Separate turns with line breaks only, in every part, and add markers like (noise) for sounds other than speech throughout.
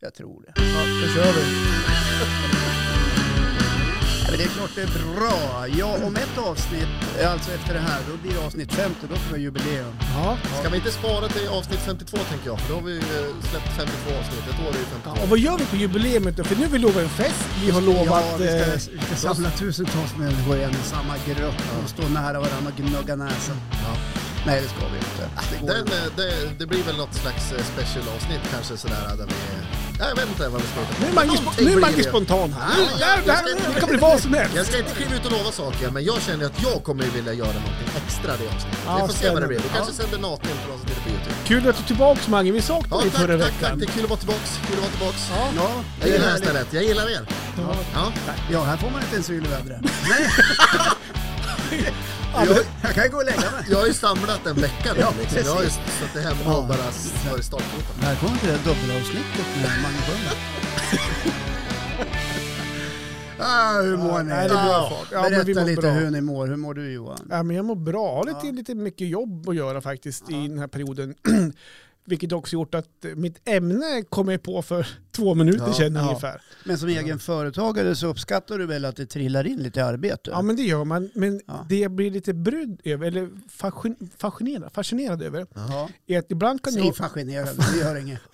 Jag tror det.
Ja, då kör vi.
Nej, men det är klart det är bra. Ja, om ett avsnitt, eh, alltså efter det här, då blir det avsnitt 50, då kommer jubileum.
Ja.
Ska vi inte spara till avsnitt 52 tänker jag, för då har vi eh, släppt 52 avsnitt. Ett år är ju 52.
Ja, och vad gör vi på jubileet då? För nu har vi lovat en fest, vi har
ja,
lovat...
vi
eh,
ska, vi ska samla tusentals människor igen i samma grupp och stå nära varandra och gnugga näsan.
Ja.
Nej, det ska vi inte. Alltså, Det går
Den,
inte.
eh, det, det blir väl något slags eh, specialavsnitt kanske sådär där vi... Nej, jag vet inte vad vi ska
nu är Mange, spo- nu är Mange spontan här.
Ja, ja,
Där- där-
jag ska-
Det kommer bli vad som
Jag
helst.
ska inte kliva ut och lova saker, men jag känner att jag kommer ju vilja göra någonting extra det avsnittet.
Ja,
vi får se vad det
spännande.
blir. Vi kanske
Ja.
sänder naken för de som tittar på Youtube.
Kul att du är tillbaks Mange, vi
Ja,
saknade dig
tack,
förra
tack, tack.
veckan.
Det är kul att vara tillbaks. Kul att vara tillbaks.
Ja,
Jag
det är
gillar
härligt.
hästnätet. Jag gillar er.
Ja.
Ja.
Ja, här får man inte ens yl i vädret.
(laughs) Ja,
Jag,
men-
jag kan gå och lägga mig.
Jag har ju samlat en vecka nu
Ja,
liksom. Jag har ju
precis.
suttit hemma
Ja.
och bara s- varit startgropen.
Välkommen till det här dubbelavsnittet med Mange Sjöberg. (laughs) Ah, hur mår ni?
nej, det är bra
Ah,
fart. Ja, men vi
Berätta
mår
lite
bra.
hur ni mår. Hur mår du Johan?
Ja, men jag mår bra. Jag har lite, lite mycket jobb att göra faktiskt i den här perioden. (clears throat) Vilket också gjort att eh, mitt ämne kom jag på för (laughs) två minuter
Ja,
sedan
ja.
ungefär.
Men som egen företagare så uppskattar du väl att det trillar in lite arbete?
Ja men det gör man. Men
Ja.
det jag blir lite brydd över, eller fascin- fascinerad, fascinerad över,
Ja.
är att ibland kan
Säg
jag...
fascinerad, det gör inget.
(laughs)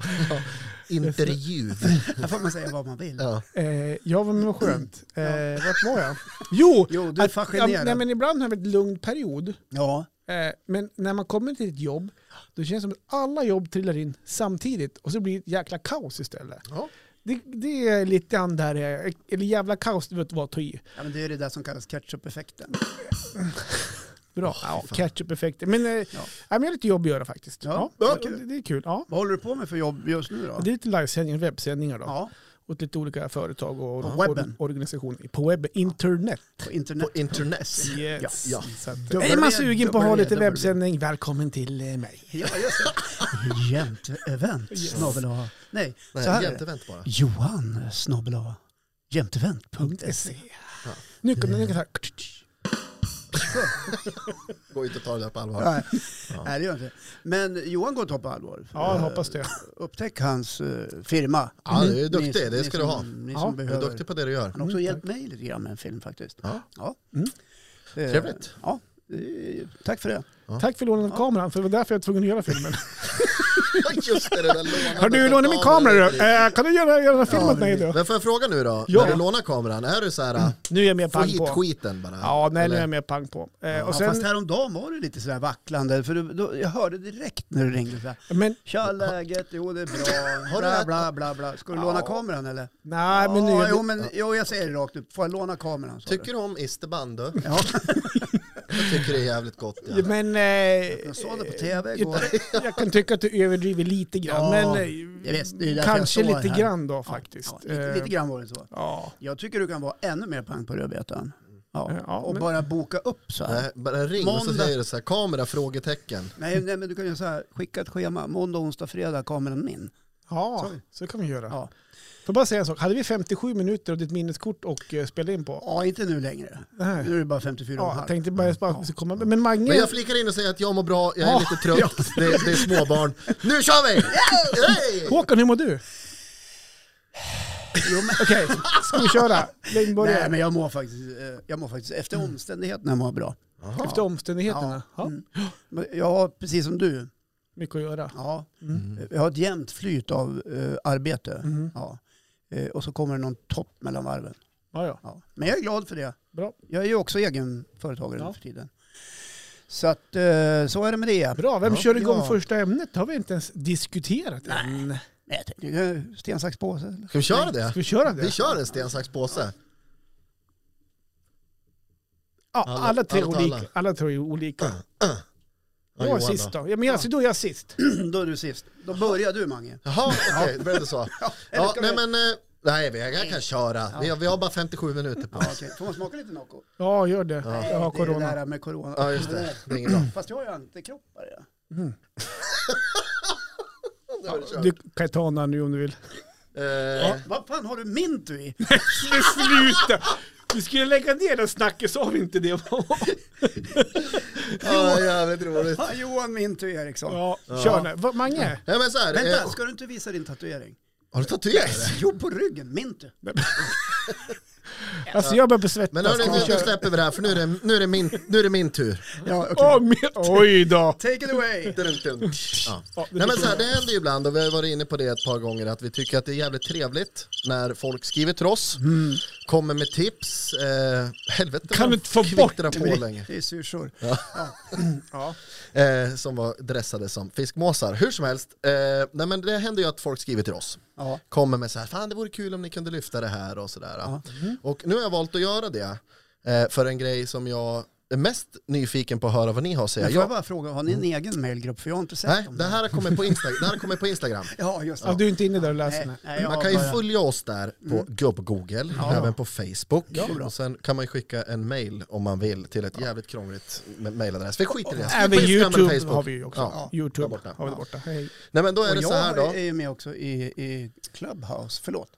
Intervju.
Här får man säga vad man vill.
Ja.
Eh, ja men
(clears throat)
vad skönt. Eh, Vart var
(laughs)
jag? Jo!
Jo, du är
att- ja, nej
fascinerad.
men ibland har vi en lugn period.
Ja,
Eh, men när man kommer till ett jobb, då känns det som att alla jobb trillar in samtidigt och så blir det ett jäkla kaos istället.
Ja.
Det, det är lite grann där jag är. Eller jävla kaos, det vet du vad ta i.
ja, men det är det där som kallas ketchup-effekten.
Bra. ja, Ketchup-effekter. Men, eh, ja. nej, men jag har lite jobb att göra faktiskt.
Ja,
Ja.
vad
det,
kul.
det är kul. Ja.
Vad håller du på med för jobb just nu då?
Det är lite livesändningar, webbsändningar då.
Ja,
Åt lite olika företag och
På webben.
or- organisationer. På webben, internet.
på internet.
På internet.
Yes.
Ja.
Så att,
W-
är man sugen på att ha
W-
lite
W.
webbsändning, välkommen till eh, mig.
Ja, just det. (laughs) Jämtevent, snabel A. Nej,
Nej,
så här är det.
jämtevänt bara.
Johan, snabel A. Jämtevent.se.
E. Nu kommer nu kan jag
Går ju inte att ta det där på allvar.
Nej, nej, det gör inte det. Men Johan går att ta på allvar.
Ja, jag
Eh,
hoppas det.
Upptäck hans eh, firma.
Ja, du är
Ni-
duktig. Det
ni
ska
som-
du ha.
Ni
Ja,
som
Du är
behöver.
duktig på det du gör.
Han har också hjälpt mig lite grann med en film faktiskt.
Ja.
Ja.
Mm.
Eh,
Trevligt.
Ja, eh, tack för det.
Tack för lånet av kameran, för det var därför jag var tvungen att göra filmen.
(laughs) Just det, det där lånandet
Har du
av
lånat min kamera du? Eh, Kan du göra, göra en film
Ja,
åt mig
det-
då?
Men får jag fråga nu då?
Ja.
När du lånar kameran, är du så här,
Nu är jag mer
få
pang
hit
på.
skiten bara?
Ja, nej, nu är
Eller-
jag mer pang på. Eh,
Ja,
Och sen,
Fast häromdagen var du lite sådär vacklande. För du, då, jag hörde direkt när du ringde sådär.
men
Tja läget, jo det är bra.
Har du
Bla
rätt?
bla bla bla. Ska du
Ja.
låna kameran eller?
nej, men nu...
Ja, jo, men, jo jag säger det rakt upp. Får jag låna kameran? sa
Tycker
du?
du om isterband då?
Ja,
Jag tycker det är jävligt gott.
(laughs) Ja,
Ja.
Men,
jag
eh,
såg det på tv igår.
jag kan tycka att du överdriver lite grann,
Ja,
men eh,
jag vet, det är därför
kanske
jag står
lite
här.
grann då faktiskt.
Ja, lite, lite grann var det så.
Eh, Ja,
Jag tycker du kan vara ännu mer pang på rödbetan. Ja.
Ja,
och
men-
bara boka upp så här.
Nej, bara ring och så
Måndag.
säger du så här, kamera? Frågetecken.
Nej, nej men du kan ju så här, skicka ett schema. Måndag, onsdag, fredag, kameran min.
ja
Sorry.
så kan vi göra.
Ja,
Får bara säga en sak, hade vi 57 minuter och ditt minneskort och eh, spela in på?
ja inte nu längre.
Nej.
Nu är det bara 54 och en
Ja,
halv.
jag tänkte bara att jag skulle komma. Men Mange...
Men jag flikar in och säger att jag mår bra, jag är
Ja.
lite trött, det, det är småbarn. Nu kör
(laughs)
vi! Hey!
Håkan, hur mår du?
Jo, men,
Okej, ska vi köra? Leijonborg
nej, men jag mår faktiskt, eh, jag mår faktiskt efter
Mm.
omständigheterna mår jag bra.
efter omständigheterna. Ja.
Mm. Men Jag har, precis som du,
Mycket att göra.
ja,
Mm.
jag har ett jämnt flyt av eh, arbete. Ja. Eh, och så kommer det någon topp mellan varven.
Ja, ja.
Ja. Men jag är glad för det.
Bra.
Jag är ju också egen företagare
Ja.
nu för tiden. Så att, eh, så är det med det.
Bra, vem
Ja.
kör igång
Ja.
första ämnet? Det har vi inte ens diskuterat än.
Nej, jag tänkte, eh, sten, sax, påse.
(clears throat)
eller?
Ska vi köra det?
Ska vi köra det?
Vi kör en sten, sax, påse.
Ja,
Alla-
alla, tre
alla tar
olika.
alla.
Alla tre är olika.
Ja,
Jag är
Johan
sist
då.
då. Ja, men alltså, då är jag sist.
Då är du sist. Då börjar du Mange.
Jaha, okej, det blev det så.
eller
Ja,
ska
nej
vi-
men, eh, nej vi- jag kan köra. Vi har, vi har bara 57 minuter
Ja,
på oss.
okej. Får man smaka lite Nocco?
Ja, gör det. Jag har
Det är det
corona.
där med corona.
Ja just det, det är inget bra.
Fast jag har ju antikroppar. Ja.
Du kan ta en annan nu om du vill.
Eh,
Vad fan har du mint du
(laughs)
i?
Men sluta! Vi skulle lägga ner den snacket, sa vi inte det?
Ja, jävligt roligt.
Fan, (laughs) Johan mint du Eriksson.
ja, kör nu. Va, Mange?
Ja, men så här,
Vänta,
eh,
ska du inte visa din tatuering?
Har du tatuerat dig?
Jo, på ryggen. Min du.
Alltså jag börjar bli svettas.
Men hörni,
Ska vi
nu, nu
köra?
släpper vi det här för nu är det, nu är det, min, nu är det min tur.
Ja, okej.
Åh, min- Oj då!
Take it away.
Ja. Nej, men så här, det händer ju ibland, och vi har varit inne på det ett par gånger, att vi tycker att det är jävligt trevligt när folk skriver till oss, kommer med tips. Eh, helvete
Kan
de
du inte få
kvittrar
bort
på
mig?
länge.
Det är syrsor.
Ja.
Eh, som var dressade som fiskmåsar. Hur som helst, eh, nej, men det händer ju att folk skriver till oss.
Ja.
kommer med så här, fan det vore kul om ni kunde lyfta det här och sådär. Och nu har jag valt att göra det eh, för en grej som jag är mest nyfiken på att höra vad ni har att säga.
Men får jag
Jag, Mm.
bara fråga, har ni en egen mailgrupp? För jag har inte sett
nej,
dem.
det här kommer på, Insta- det här kommer
(laughs)
på Instagram.
Ja, just det.
Ja, du är alltså inte inne där och läser? Nej.
nej, jag
Man
har
kan ju
bara- Mm.
följa oss där på gubb-Google, även på Facebook. och sen kan man ju skicka en mail om man vill till ett jävligt krångligt ma- mailadress. Vi skiter i det.
Även
På Instagram eller
YouTube
Facebook.
har vi ju också.
Ja.
YouTube
där borta.
har vi borta. Hej.
Nej men då är
Och
det
jag
så här då.
är ju med också i, i Clubhouse, förlåt.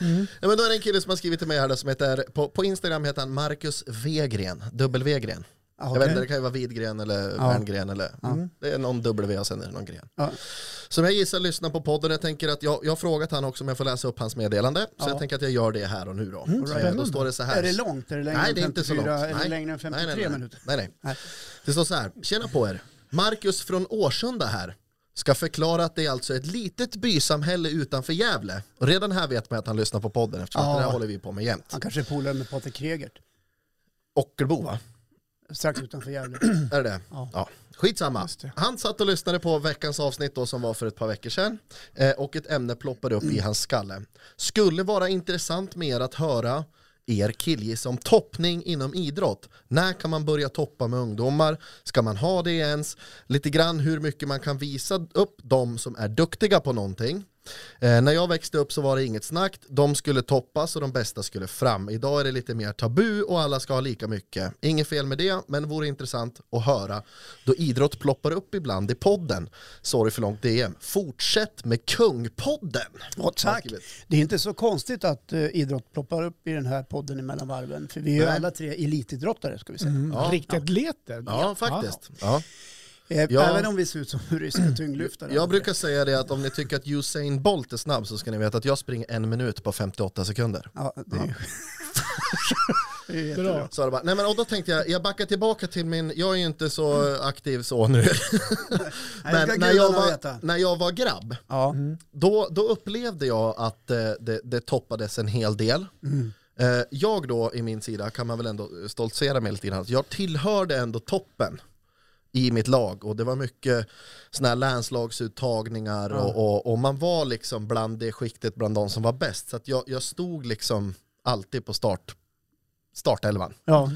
Mm.
Nej, men då är det en kille som har skrivit till mig här då, som heter, på, på Instagram heter han Marcus Wegren, dubbel-V-gren.
Ah,
Jag vet
okej.
inte, det kan ju vara Widgren eller
Ja.
Werngren eller Mm. det är någon W och sen är det någon gren.
Ja.
Som jag gissar lyssnar på podden, jag tänker att jag, jag har frågat han också om jag får läsa upp hans meddelande. Så
Ja. Mm,
jag tänker att jag gör det här och nu då. Så, eh, då
spännande.
står det så här.
Är det långt? Är det längre
Nej,
än
det är inte så
54?
långt.
Är
Nej.
det längre än 53
nej, nej, nej.
minuter?
Nej, nej.
Nej.
Det står så här, tjena på er. Marcus från Årsunda här. Ska förklara att det är alltså ett litet bysamhälle utanför Gävle. Och redan här vet man att han lyssnar på podden eftersom
Ja.
att det här håller vi på med jämt.
Han kanske är polare med Patrik Kregert,
Ockelbo va?
strax utanför
(clears throat)
Gävle.
Är det det?
Ja.
Ja. Skitsamma.
Just det.
Han satt och lyssnade på veckans avsnitt då som var för ett par veckor sedan eh, och ett ämne ploppade upp i hans skalle. Skulle vara intressant med er att höra er killgissa om toppning inom idrott. När kan man börja toppa med ungdomar? Ska man ha det ens? Lite grann hur mycket man kan visa upp de som är duktiga på någonting. Eh, när jag växte upp så var det inget snack. De skulle toppas och de bästa skulle fram. Idag är det lite mer tabu och alla ska ha lika mycket. Inget fel med det, men det vore intressant att höra då idrott ploppar upp ibland i podden. Sorry för långt DM. Fortsätt med Kungpodden.
Ja, tack. Det är inte så konstigt att eh, idrott ploppar upp i den här podden i Mellanvarven. För vi är ju
Nej. Mm.
alla tre elitidrottare ska vi säga.
Ja.
Riktiga atleter.
Ja, faktiskt. Ja.
Eh,
Ja. Mm.
Även om vi ser ut som ryska tyngdlyftare.
Jag brukar säga det att om ni tycker att Usain Bolt är snabb så ska ni veta att jag springer en minut på 58 sekunder.
Ja, det är ju... (laughs) det är ju jättebra.
Bra.
Så det bara, nej men och då tänkte jag, jag backar tillbaka till min, jag är ju inte så eh, aktiv så nu.
Nej, det ska
Men när jag,
gudarna
var,
veta.
Mm.
när jag var grabb,
Ja.
då, då upplevde jag att eh, det, det toppades en hel del.
Mm.
Eh, jag då, i min sida, kan man väl ändå stoltsera med lite grann, jag tillhörde ändå toppen i mitt lag och det var mycket såna här länslagsuttagningar och, och, och man var liksom bland det skiktet bland de som var bäst. Så att jag, jag stod liksom alltid på start, startelvan.
ja.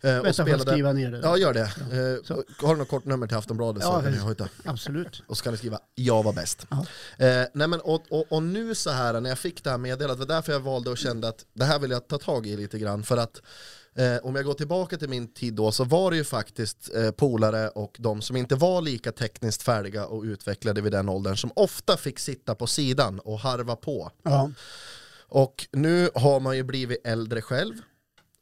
Eh,
Vänta,
och
får jag
spelade,
skriva ner det?
Ja, gör det. Eh, har du något kort nummer till Aftonbladet så
Ja,
kan du
visst.
hojta.
Absolut.
Och så kan du skriva jag var bäst.
Ja.
Eh, nej men, och, och, och nu så här när jag fick det här meddelandet, det var därför jag valde och kände att det här vill jag ta tag i lite grann. För att eh, om jag går tillbaka till min tid då så var det ju faktiskt eh, polare och de som inte var lika tekniskt färdiga och utvecklade vid den åldern som ofta fick sitta på sidan och harva på.
Ja.
Och nu har man ju blivit äldre själv.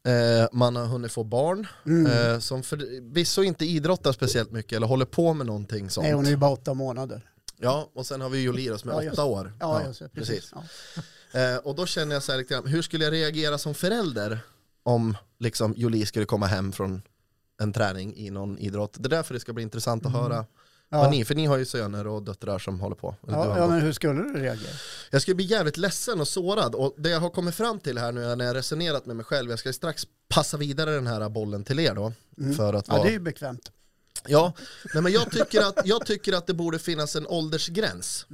Eh, man har hunnit få barn
Mm.
eh, som förvisso inte idrottar speciellt mycket eller håller på med någonting sånt.
Nej, hon är ju bara åtta månader.
Ja, och sen har vi Jolira som är
Ja, just-
åtta år.
Ja, just det. Precis. Ja.
Eh, och då känner jag så här lite grann, hur skulle jag reagera som förälder om liksom Jolie skulle komma hem från en träning i någon idrott? Det är därför det ska bli intressant att höra vad
Mm. Ja.
ni, för ni har ju söner och döttrar som håller på. Eller du har
Ja, ja,
på.
men hur skulle du reagera?
Jag skulle bli jävligt ledsen och sårad och det jag har kommit fram till här nu när jag resonerat med mig själv, jag ska strax passa vidare den här bollen till er då. För att
Mm. Ja,
vara...
det är ju bekvämt.
Ja, nej, men jag tycker, att, jag tycker att det borde finnas en åldersgräns.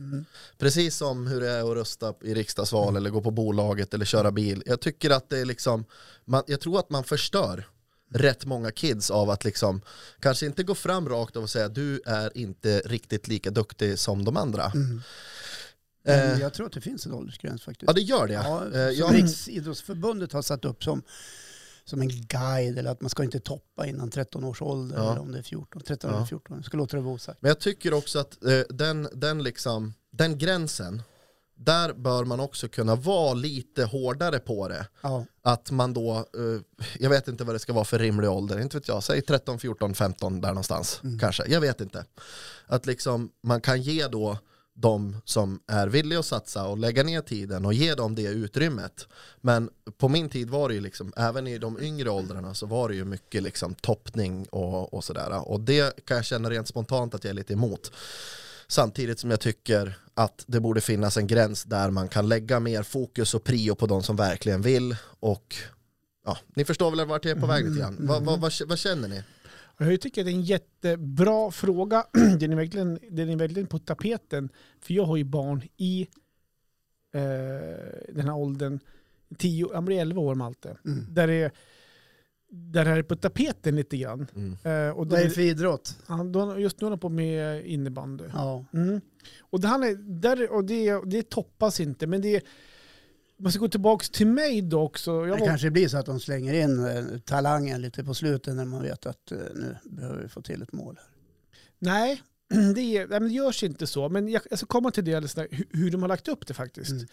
Precis som hur det är att rösta i riksdagsval eller gå på bolaget eller köra bil. Jag tycker att det är liksom, man, jag tror att man förstör rätt många kids av att liksom kanske inte gå fram rakt och säga du är inte riktigt lika duktig som de andra.
Men jag tror att det finns en åldersgräns faktiskt.
Eh. Ja det gör det.
Ja,
Eh,
som
jag,
Riksidrottsförbundet har satt upp som, som en guide, eller att man ska inte toppa innan 13 års ålder,
Ja.
eller om det är 14, 13 eller 14. Jag ska låta det vara osagt.
Men jag tycker också att eh, den, den, liksom, den gränsen, där bör man också kunna vara lite hårdare på det.
Ja.
att man då, eh, jag vet inte vad det ska vara för rimlig ålder, inte vet jag, säg 13, 14, 15 där någonstans kanske, jag vet inte. Att liksom man kan ge då de som är villiga att satsa och lägga ner tiden och ge dem det utrymmet. Men på min tid var det ju liksom, även i de yngre åldrarna så var det ju mycket liksom toppning och, och sådär. Och det kan jag känna rent spontant att jag är lite emot. Samtidigt som jag tycker att det borde finnas en gräns där man kan lägga mer fokus och prio på de som verkligen vill. Och ja, ni förstår väl vart jag är på väg lite grann.
Mm.
Vad, vad, vad, vad känner ni?
Jag tycker det är en jättebra fråga. (clears throat) Den är verkligen, den är verkligen på tapeten. För jag har ju barn i eh, den här åldern, 10, han blir 11 år Malte.
Mm.
Där är där här är på tapeten lite grann.
Mm.
Eh, och då,
Vad är det för idrott?
han, då, just nu håller han på med innebandy.
Ja.
Mm. Och, det, handlar, där, och det, det toppas inte, men det man ska gå tillbaka till mig då också. Jag
Det
var,
kanske blir så att de slänger in eh, talangen lite på slutet när man vet att eh, nu behöver vi få till ett mål.
nej, (clears throat) det, är, nej, men det görs inte så. Men jag, jag ska komma till det alldeles snart, hur, hur de har lagt upp det faktiskt.
Mm.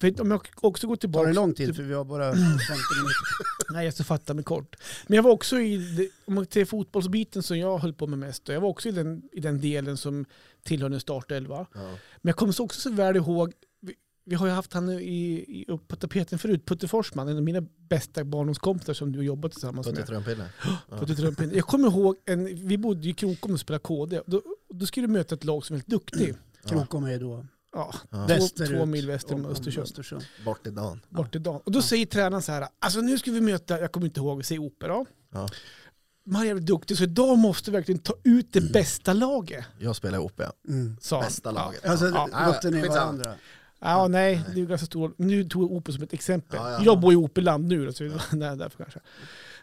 För om jag också går
Tar
tillbaka...
det lång tid för vi har bara 15 minuter.
Nej, jag ska fatta mig kort. Men jag var också i, det- om man till fotbollsbiten som jag höll på med mest, och jag var också i den, i den delen som tillhör den startelva.
Ja.
Men jag kommer så också så väl ihåg, vi, vi har ju haft han i, i, upp på tapeten förut, Putte Forsman, en av mina bästa barndomskompisar som du har jobbat tillsammans
Putte
med.
Trumpinne? Ja.
Putte Trumpin. Jag kommer ihåg, en, vi bodde i Krokom och spelade KD, då, då skulle du möta ett lag som är väldigt
(clears throat)
duktigt.
Krokom är ju då
Ja,
Ja.
två,
västerut.
två mil väster om
om- om
Östersund.
Östersund.
Bort i dagen.
bort till Dan. Och då säger tränaren så här, alltså nu ska vi möta, jag kommer inte ihåg, säg opera.
Ja.
Man är jävligt duktig så idag måste vi verkligen ta ut
(clears throat)
det bästa laget.
Jag spelar ihop ja.
Mm.
Sa han.
Bästa laget.
Alltså,
Ja,
ja,
låter ni
skitsamma.
varandra?
Ja, ja, nej, det är ju ganska stor Nu tog jag Opel som ett exempel.
Ja, ja.
Jag bor i Opelland nu, så (laughs) nej, därför kanske.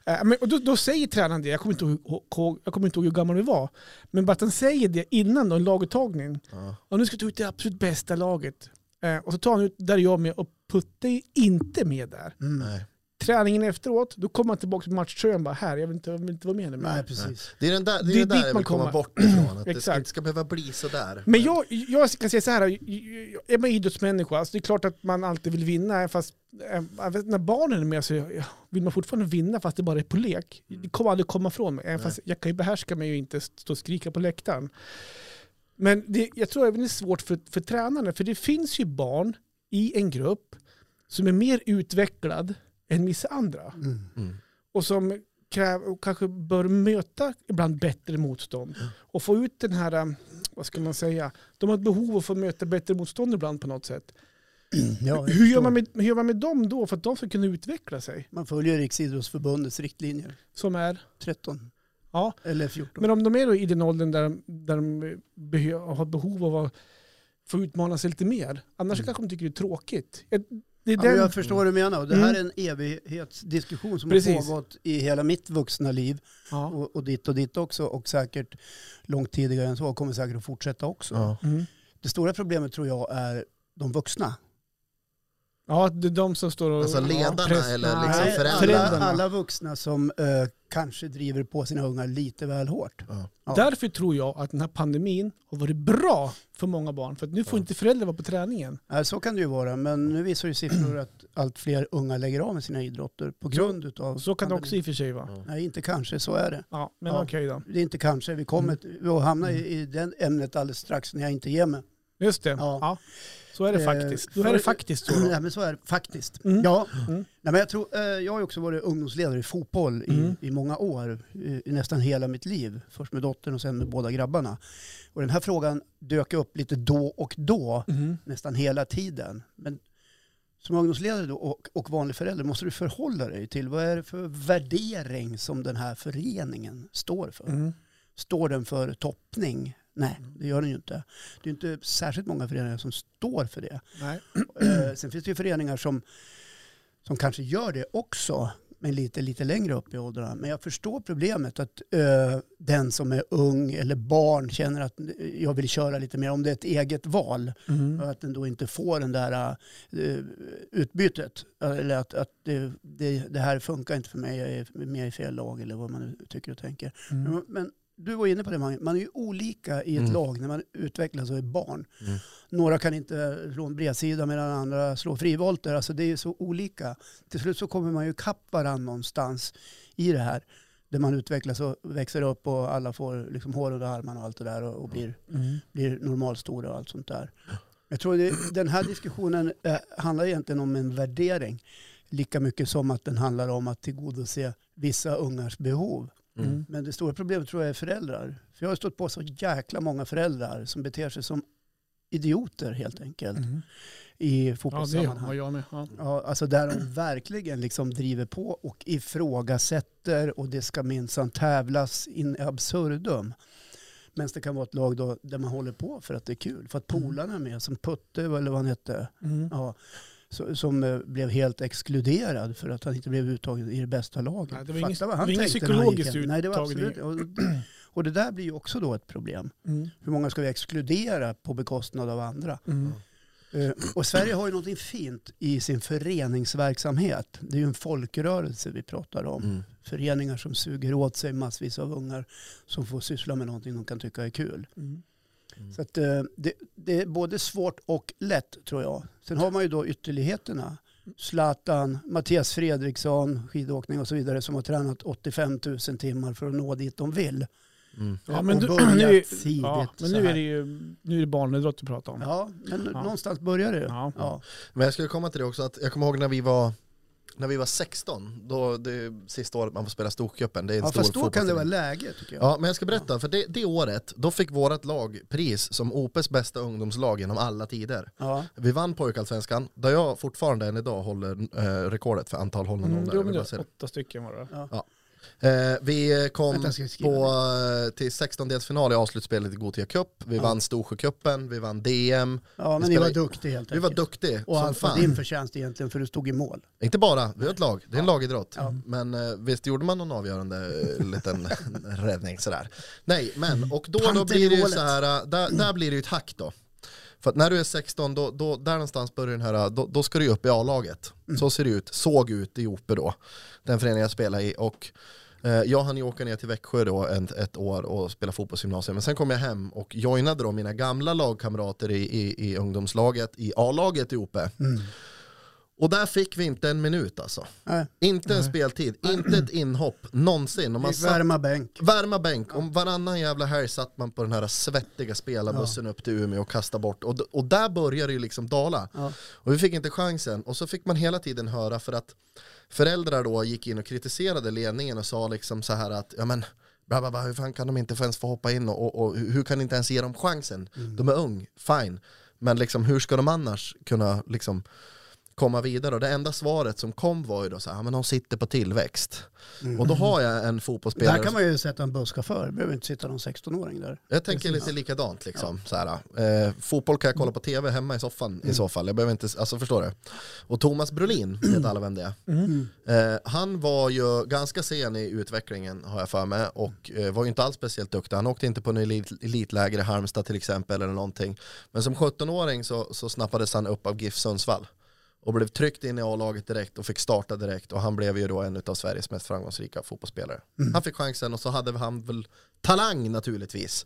Eh, Men, och då, då säger tränaren det, jag kommer, inte ihåg, jag kommer inte ihåg hur gammal vi var, men bara att han säger det innan då, en laguttagning.
Ja.
Och nu ska vi ta ut det absolut bästa laget. Eh, Och så tar han ut, där är jag med, och Putte är inte med där.
Mm.
Nej.
träningen efteråt, då kommer man tillbaka till matchtröjan och bara här, jag vill inte, jag vill inte vara med nu.
Nej, precis.
Det är den där, det
Det är
är den där
dit
jag
man
vill komma
kommer.
bort ifrån. Att det ska,
Exakt.
inte ska behöva bli sådär.
Men jag, jag kan säga så här, jag är man idrottsmänniska, alltså det är klart att man alltid vill vinna, fast eh, jag vet, när barnen är med så ja, vill man fortfarande vinna fast det bara är på lek. Det kommer aldrig komma ifrån mig, även fast jag kan ju behärska mig och inte stå och skrika på läktaren. Men det, jag tror även det är svårt för, för tränarna, för det finns ju barn i en grupp som är mer utvecklad än vissa andra.
Mm. (clears throat)
Mm.
och som kräver, och kanske bör möta ibland bättre motstånd. Och få ut den här, eh, vad ska man säga, de har ett behov av att få möta bättre motstånd ibland på något sätt.
Ja, jag
Hur gör,
förstår.
man med, hur gör man med dem då för att de ska kunna utveckla sig?
Man följer Riksidrottsförbundets riktlinjer.
Som är,
13
ja.
eller 14.
Men om de är då i den åldern där, de- där de behö, har behov av att få utmana sig lite mer, annars kanske de tycker det är tråkigt. Ett- Det är
Mm. Ja,
den,
men jag förstår vad du menar. Och det
Mm.
här är en evighetsdiskussion som
Precis.
har pågått i hela mitt vuxna liv
ja.
och, och ditt och ditt också och säkert långt tidigare än så och kommer säkert att fortsätta också.
Ja.
Mm.
Det stora problemet tror jag är de vuxna.
ja, det är de som står och...
Alltså ledarna
ja, press-
eller
Nej,
liksom
alla,
föräldrarna.
föräldrarna.
alla vuxna som eh, kanske driver på sina ungar lite väl hårt.
Ja.
Ja.
Därför tror jag att den här pandemin har varit bra för många barn. För att nu får
Ja.
inte föräldrar vara på träningen.
Nej, Så kan det ju vara, men nu visar ju siffror att allt fler unga lägger av med sina idrotter på grund utav...
Och så kan det också
pandemin.
i och för sig vara.
Nej, inte kanske, så är det.
Ja, men
Ja.
okej då.
Det är inte kanske, vi kommer
Mm.
att hamna i, i det ämnet alldeles strax när jag inte ger mig.
Just det. Ja.
Ja.
Så är det
Eh,
faktiskt. Då
för-
är det faktiskt så. Då.
Nej men så är det faktiskt.
Mm.
Ja.
Mm.
Nej, men jag, tror, eh, jag har ju också varit ungdomsledare i fotboll i,
Mm.
i många år, i, i nästan hela mitt liv. Först med dottern och sen med båda grabbarna. Och den här frågan dök upp lite då och då,
Mhm.
nästan hela tiden. Men som ungdomsledare då och, och vanlig förälder måste du förhålla dig till vad är det för värdering som den här föreningen står för?
Mhm.
Står den för toppning? Nej, det gör den ju inte. Det är inte särskilt många föreningar som står för det.
Nej.
Eh, Sen finns det ju föreningar som, som kanske gör det också, men lite, lite längre upp i åldrarna. Men jag förstår problemet att eh, den som är ung eller barn känner att eh, jag vill köra lite mer, om det är ett eget val,
Mhm.
och att den då inte får den där eh, utbytet. Eller att, att det, det, det här funkar inte för mig, jag är med i fel lag eller vad man nu tycker och tänker.
Mm.
Men- Men du var inne på det, man, man är ju olika i ett
Mm.
lag när man utvecklas och är barn.
Mm.
Några kan inte slå en bredsida medan andra slår frivolter. Alltså det är ju så olika. Till slut så kommer man ju kapp varandra någonstans i det här. där man utvecklas och växer upp och alla får liksom hår under armarna och allt det där och,
Mm.
och blir, blir normalstora och allt sånt där. Jag tror det, den här diskussionen eh, handlar egentligen om en värdering lika mycket som att den handlar om att tillgodose vissa ungars behov.
Mm.
Men det stora problemet tror jag är föräldrar. För jag har stått på så jäkla många föräldrar som beter sig som idioter helt enkelt
Mm.
i
Ja, det
fotbollssammanhang.
har jag med. Ja.
Ja, alltså där de verkligen liksom driver på och ifrågasätter och det ska minsann tävlas in absurdum. Men det kan vara ett lag då där man håller på för att det är kul. För att polarna är med, som Putte eller vad han hette,
Mm.
ja, så, som eh, blev helt exkluderad för att han inte blev uttagen i det bästa laget.
Nej, det var inget-
Fatta vad han
det var inget
tänkte när han gick
psykologiskt
in. Nej, det var
uttagning.
absolut. Och, och det där blir ju också då ett problem.
Mm.
Hur många ska vi exkludera på bekostnad av andra?
Mm.
Eh, Och Sverige har ju någonting fint i sin föreningsverksamhet. Det är ju en folkrörelse vi pratar om.
Mm.
Föreningar som suger åt sig massvis av ungar som får syssla med någonting de kan tycka är kul.
Mm.
Så att, eh, det, det är både svårt och lätt tror jag. Sen har man ju då ytterligheterna. Zlatan, Mattias Fredriksson, skidåkning och så vidare som har tränat 85 000 timmar för att nå dit de vill.
Mm.
Ja, men
och
du,
börjat
nu, är-
tidigt.
ja, men
så
nu är
här.
det ju nu är det barnidrott du pratar om.
Ja, men
Ja.
någonstans börjar det ju.
Ja.
Ja.
Men jag skulle komma till det också, att jag kommer ihåg när vi var när vi var 16, då det är sista året man får spela Storcupen, det är en
Ja,
stor
fast då kan det
fotbollsturnering.
vara läge tycker jag.
Ja, men jag ska berätta, för det, det året, då fick vårt lag pris som OPs bästa ungdomslag genom alla tider.
Ja.
Vi vann pojkallsvenskan, där jag fortfarande än idag håller eh, rekordet för antal hållna
Mm,
nollor.
jo, men
Jag vill
det
bara säga
är åtta stycken var det.
det. eh, vi kom
Vänta, jag ska skriva
på, eh, till 16-delsfinal i avslutspelet i Gothia Cup, vi
Ja.
vann Storsjöcupen, vi vann DM,
Ja, men ni
spelar-
var duktiga helt
vi var duktiga
Och
som
allt var
fan.
din förtjänst egentligen för du stod i mål.
Inte bara, vi har ett lag, det är en lagidrott.
Ja.
Men eh, visst gjorde man någon avgörande (laughs) eh, liten räddning sådär. Nej, men och då,
Panten
då
i
blir det
Mm.
ju
målet.
så här, eh, där, där blir det ju ett hack då. För att när du är 16, då, då, där någonstans börjar den här, eh, då, då ska du ju upp i A-laget.
Mm.
Så ser det ut, såg ut i Ope då, den förening jag spelar i. Och eh, jag hann ju åka ner till Växjö då en, ett år och spela fotbollsgymnasium. Men sen kom jag hem och joinade då mina gamla lagkamrater i, i, i ungdomslaget, i A-laget i Ope. Och där fick vi inte en minut alltså.
Nej,
Inte en speltid, inte ett inhopp någonsin. Om man
vi
satt,
värma bänk.
värma bänk, om varannan jävla helg satt man på den här svettiga spelarbussen upp till Umeå och kastade bort. Och, d- och där började det ju liksom dala.
Ja.
Och vi fick inte chansen. Och så fick man hela tiden höra för att föräldrar då gick in och kritiserade ledningen och sa liksom så här att ja men bla bla bla, hur fan kan de inte ens få hoppa in och, och, och hur hur kan ni inte ens ge dem chansen?
Mm.
De är ung, fine. Men liksom hur ska de annars kunna liksom komma vidare och det enda svaret som kom var ju då så här, "Ja, men de sitter på tillväxt. Och då har jag en fotbollsspelare
Mm. Där kan man ju sätta en busschaufför. Det behöver inte sitta någon 16-åring där.
jag tänker lite likadant liksom. Så här, eh, fotboll kan jag kolla på tv hemma i soffan
Mm.
i så fall. Jag behöver inte, alltså förstår du. Och
(clears throat)
Thomas Brolin, vet alla vem det är.
Mm.
Eh, han var ju ganska sen i utvecklingen har jag för mig och eh, var ju inte alls speciellt duktig. Han åkte inte på en elit, elitläger i Halmstad till exempel eller någonting. Men som 17-åring så, så snappades han upp av GIF Sundsvall och blev tryckt in i A-laget direkt och fick starta direkt och han blev ju då en av Sveriges mest framgångsrika fotbollsspelare. Han fick chansen och så hade han väl talang naturligtvis.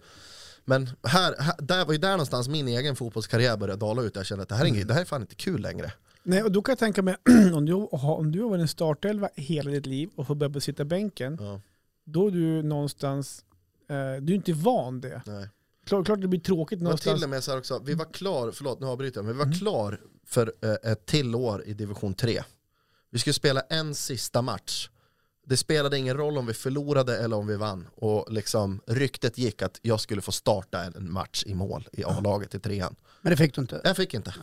Men här, här, där var ju där någonstans min egen fotbollskarriär började dala ut. Jag kände att det här är, inget, det här är fan inte kul längre.
Nej, och då kan jag tänka mig, (clears throat) om du, har- om du har varit en startelva hela ditt liv och får börja sitta bänken,
Ja,
då är du någonstans, eh, du är inte van det.
nej.
Klart, klart det blir tråkigt
Men till
någonstans.
och med så här också, vi var klar, förlåt nu avbryter jag, men vi var klar för eh, ett till år i division 3. Vi skulle spela en sista match. Det spelade ingen roll om vi förlorade eller om vi vann. Och liksom, ryktet gick att jag skulle få starta en match i mål i A-laget i trean.
Men det fick du inte.
Jag fick inte.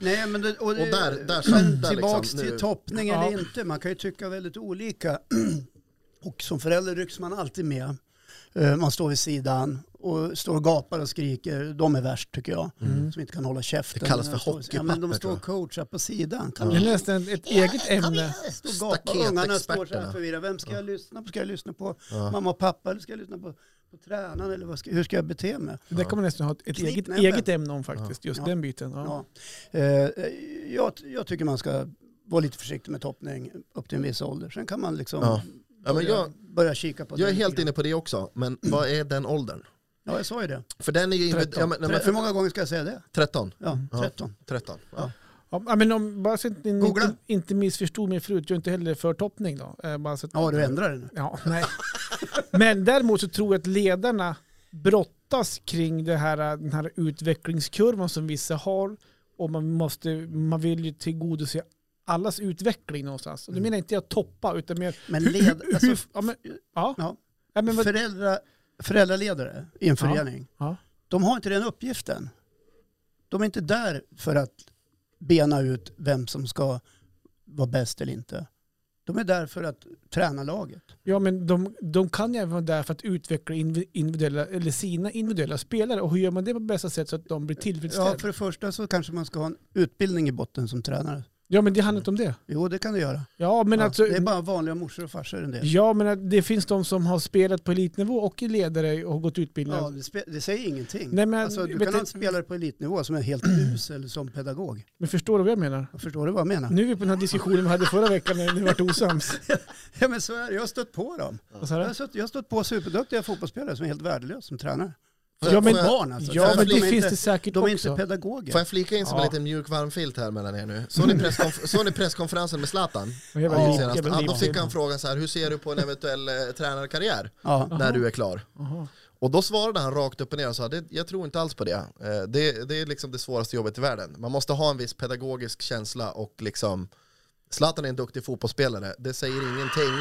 Nej, men det, och det,
Och där- där satt
men
det
tillbaks
liksom
till
nu.
toppning
Ja.
eller inte. Man kan ju tycka väldigt olika. (clears throat) och som förälder rycks man alltid med. Eh, Man står vid sidan och står och gapar och skriker. De är värst tycker jag. Som inte kan hålla käften.
Mm. Det kallas för
Ja, men de
hockeypapper,
står och coachar på sidan. Kan
Jag läste ett, ett eget ämne.
Stå och gapa. Ungarna står så här
Staketexperterna.
förvirrade. Vem ska jag lyssna på? Ska jag lyssna på
Ja.
mamma och pappa? Eller ska jag lyssna på, på tränaren? Eller vad ska, hur ska jag bete mig?
Det där kan man nästan ha ett, ett eget,
Knytnäven.
eget ämne om faktiskt, just
Ja.
den biten. Ja.
Ja. Eh, jag, jag tycker man ska vara lite försiktig med toppning upp till en viss ålder. Sen kan man liksom
Ja. Ja, men
börja,
jag,
börja kika på
jag är
det
helt
lite grann.
inne på det också, men vad är den åldern?
Ja, jag sa ju det.
För den är ju...
13.
Ja, men, nej, men
Tre- Hur många gånger ska jag säga det?
13.
Ja,
Ja.
13.
13. Ja.
Ja, men om, bara så att ni
Googla.
inte, inte missförstod mig förut, jag är inte heller för toppning då. Eh, Bara så att,
Ja, du ändrar det nu.
Ja, nej. Men däremot så tror jag att ledarna brottas kring det här, den här utvecklingskurvan som vissa har. Och man, måste, man vill ju tillgodose allas utveckling någonstans. Och då
Mm.
menar inte jag toppa, utan mer...
Men
(laughs)
led,
hur-
alltså,
ja, men, ja.
Ja.
Ja, men, vad-
föräldra, föräldraledare i en förening,
ja.
de har inte den uppgiften. De är inte där för att bena ut vem som ska vara bäst eller inte. De är där för att träna laget.
ja, men de, de kan ju även vara där för att utveckla invi- individuella, eller sina individuella spelare. Och hur gör man det på bästa sätt så att de blir tillfredsställda?
Ja,
Ja,
för det första så kanske man ska ha en utbildning i botten som tränare.
men det handlar inte om det.
Jo, det kan du göra.
Ja, men
ja,
alltså...
det är bara vanliga morsor och farsor än det.
Ja, men att det finns de som har spelat på elitnivå och är ledare och gått utbildningar.
Ja, det, spe, det säger ingenting.
Nej, men-
alltså, du
vet
kan ha
du-
en spelare på elitnivå som är helt (clears throat) usel som pedagog.
Men förstår du vad jag menar?
Förstår du vad jag menar?
Nu är vi på den här diskussionen vi hade förra veckan när ni varit osams.
Ja, Alltså, men så är det. Jag har stött på dem.
Vad sa
Jag
du?
har stött, jag har stött på superduktiga fotbollsspelare som är helt värdelösa som tränare.
Får
Ja,
jag,
men-
får jag,
Barn alltså.
Ja, men
de är
det finns
inte,
det säkert
De är
också.
inte pedagoger.
får jag flika in som
Ja.
en liten mjuk varm filt här mellan er nu? Såg ni, presskonf- såg ni presskonferensen med Zlatan?
Men jag var
Ja, Alltså,
lite-
senast?
jag var
Ja, då
lite-
fick han frågan så här, hur ser du på en eventuell eh, tränarkarriär
Ja.
när du är klar?
Aha.
Och då svarade han rakt upp och ner och sa, det, jag tror inte alls på det. Eh, det. Det är liksom det svåraste jobbet i världen. Man måste ha en viss pedagogisk känsla och liksom, Zlatan är en duktig fotbollsspelare. Det säger ingenting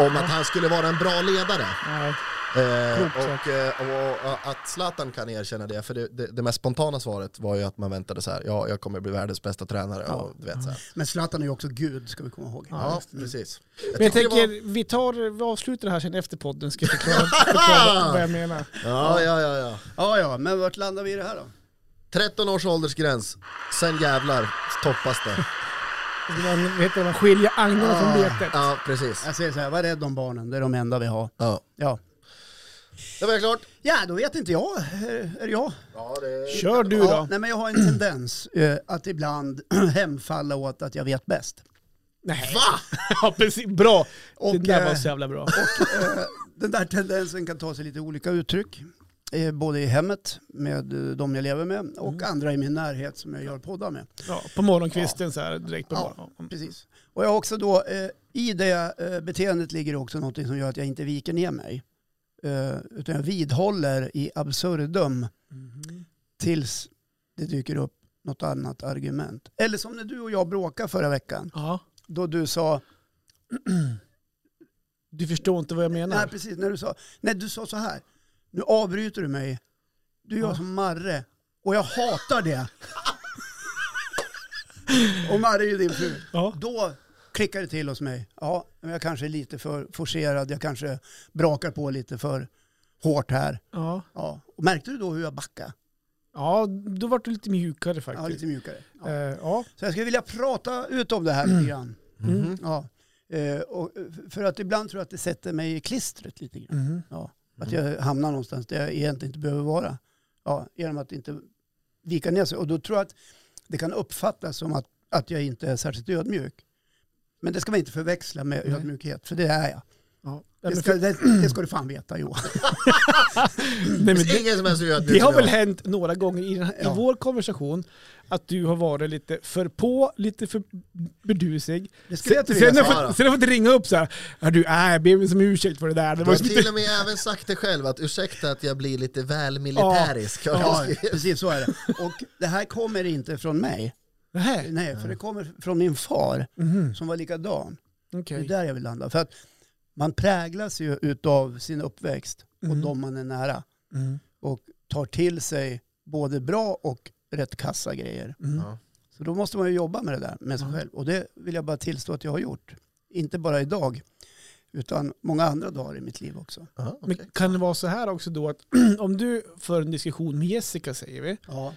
om att han skulle vara en bra ledare.
Nej.
Eh,
Klokt sagt.
och, eh, och, och att Zlatan kan erkänna det, för det, det, det mest spontana svaret var ju att man väntade så här, ja jag kommer bli världens bästa tränare.
Ja.
Och, du vet, så här.
Men Zlatan är ju också gud, ska vi komma ihåg.
Ja, precis.
Men jag
tyckte det var-
tänker, vi, tar, vi avslutar det här sen efter podden ska jag förklara,
(laughs)
förklara vad jag menar.
Ja, ja, ja, ja.
ja, ja, men vart landar vi i det här då?
13 års åldersgräns, sen jävlar toppas det.
Man, vet du, man skiljer agnarna
Ah.
från betet.
Ja, precis.
Jag säger så här, var rädd om barnen, det är de enda vi har.
Ja.
Ja,
Det var klart.
ja då vet inte jag. Eh, Är, är det jag?
Ja, det...
Kör du
Ja,
då.
nej, men jag har en tendens eh, att ibland (clears throat) hemfalla åt att jag vet bäst.
Nej. Va? (laughs) Ja, precis. Bra.
Och,
det där var
eh,
så jävla bra.
Eh, Den där tendensen kan ta sig lite olika uttryck. Eh, Både i hemmet med eh, de jag lever med och
Mm.
andra i min närhet som jag gör poddar med.
Ja, på morgonkvisten så här direkt på
Ja,
morgonen.
Precis. Och jag har också då, eh, i det eh, beteendet ligger också något som gör att jag inte viker ner mig. Eh, utan jag vidhåller i absurdum
Mhm.
tills det dyker upp något annat argument. Eller som när du och jag bråkade förra veckan.
Ja.
Då du sa,
Du förstår inte vad jag menar.
nej precis, när du sa, nej du sa så här, nu avbryter du mig, du gör
Ja.
som Marre och jag hatar
(laughs)
det. och Marre är ju din fru.
Ja.
Då klickar det till hos mig. Ja, men jag kanske är lite för forcerad. Jag kanske brakar på lite för hårt här.
Ja.
Ja. Och märkte du då hur jag backade?
Ja, då vart du lite mjukare faktiskt.
Ja, lite mjukare. Ja.
Eh, ja.
Så jag skulle vilja prata ut om det här lite grann.
Mm.
Ja. Eh, och för att ibland tror jag att det sätter mig i klistret lite grann.
Mhm.
Ja. Att jag hamnar någonstans där jag egentligen inte behöver vara. Ja, genom att inte vika ner sig. Och då tror jag att det kan uppfattas som att, att jag inte är särskilt ödmjuk. Men det ska man inte förväxla med
Nej.
ödmjukhet, för det är jag.
Ja. Nej,
Det
men
ska,
för,
det, det ska du fan veta Johan.
(laughs) nej, men
Det är
det,
ingen som är så ödmjuk
det har
som
väl
jag.
hänt några gånger i, den här,
Ja.
i vår konversation att du har varit lite för på, lite för bedusig.
Det skulle jag
Sen,
inte
sen,
vilja
har
säga.
svara.
fått, sen har jag fått ringa upp så här. Ja, du, äh, jag ber mig som ursäkt för det där. Det
Du
var
har
som
till
inte,
och med även sagt det själv, att ursäkta att jag blir lite väl militärisk.
Ja, precis så är det. Och det här kommer inte från mig.
nej,
Nej, för det kommer från min far
Mhm.
som var likadan. Det är
okej.
där jag vill landa. För att man präglas ju utav sin uppväxt och
Mm.
de man är nära.
Mm.
och tar till sig både bra och rätt kassa grejer.
Mm.
Ja.
Så då måste man ju jobba med det där med sig
Ja.
själv. Och det vill jag bara tillstå att jag har gjort. Inte bara idag, utan många andra dagar i mitt liv också.
Ja,
Men
okej.
kan det vara så här också då att (clears throat) om du för en diskussion med Jessica säger vi.
Ja,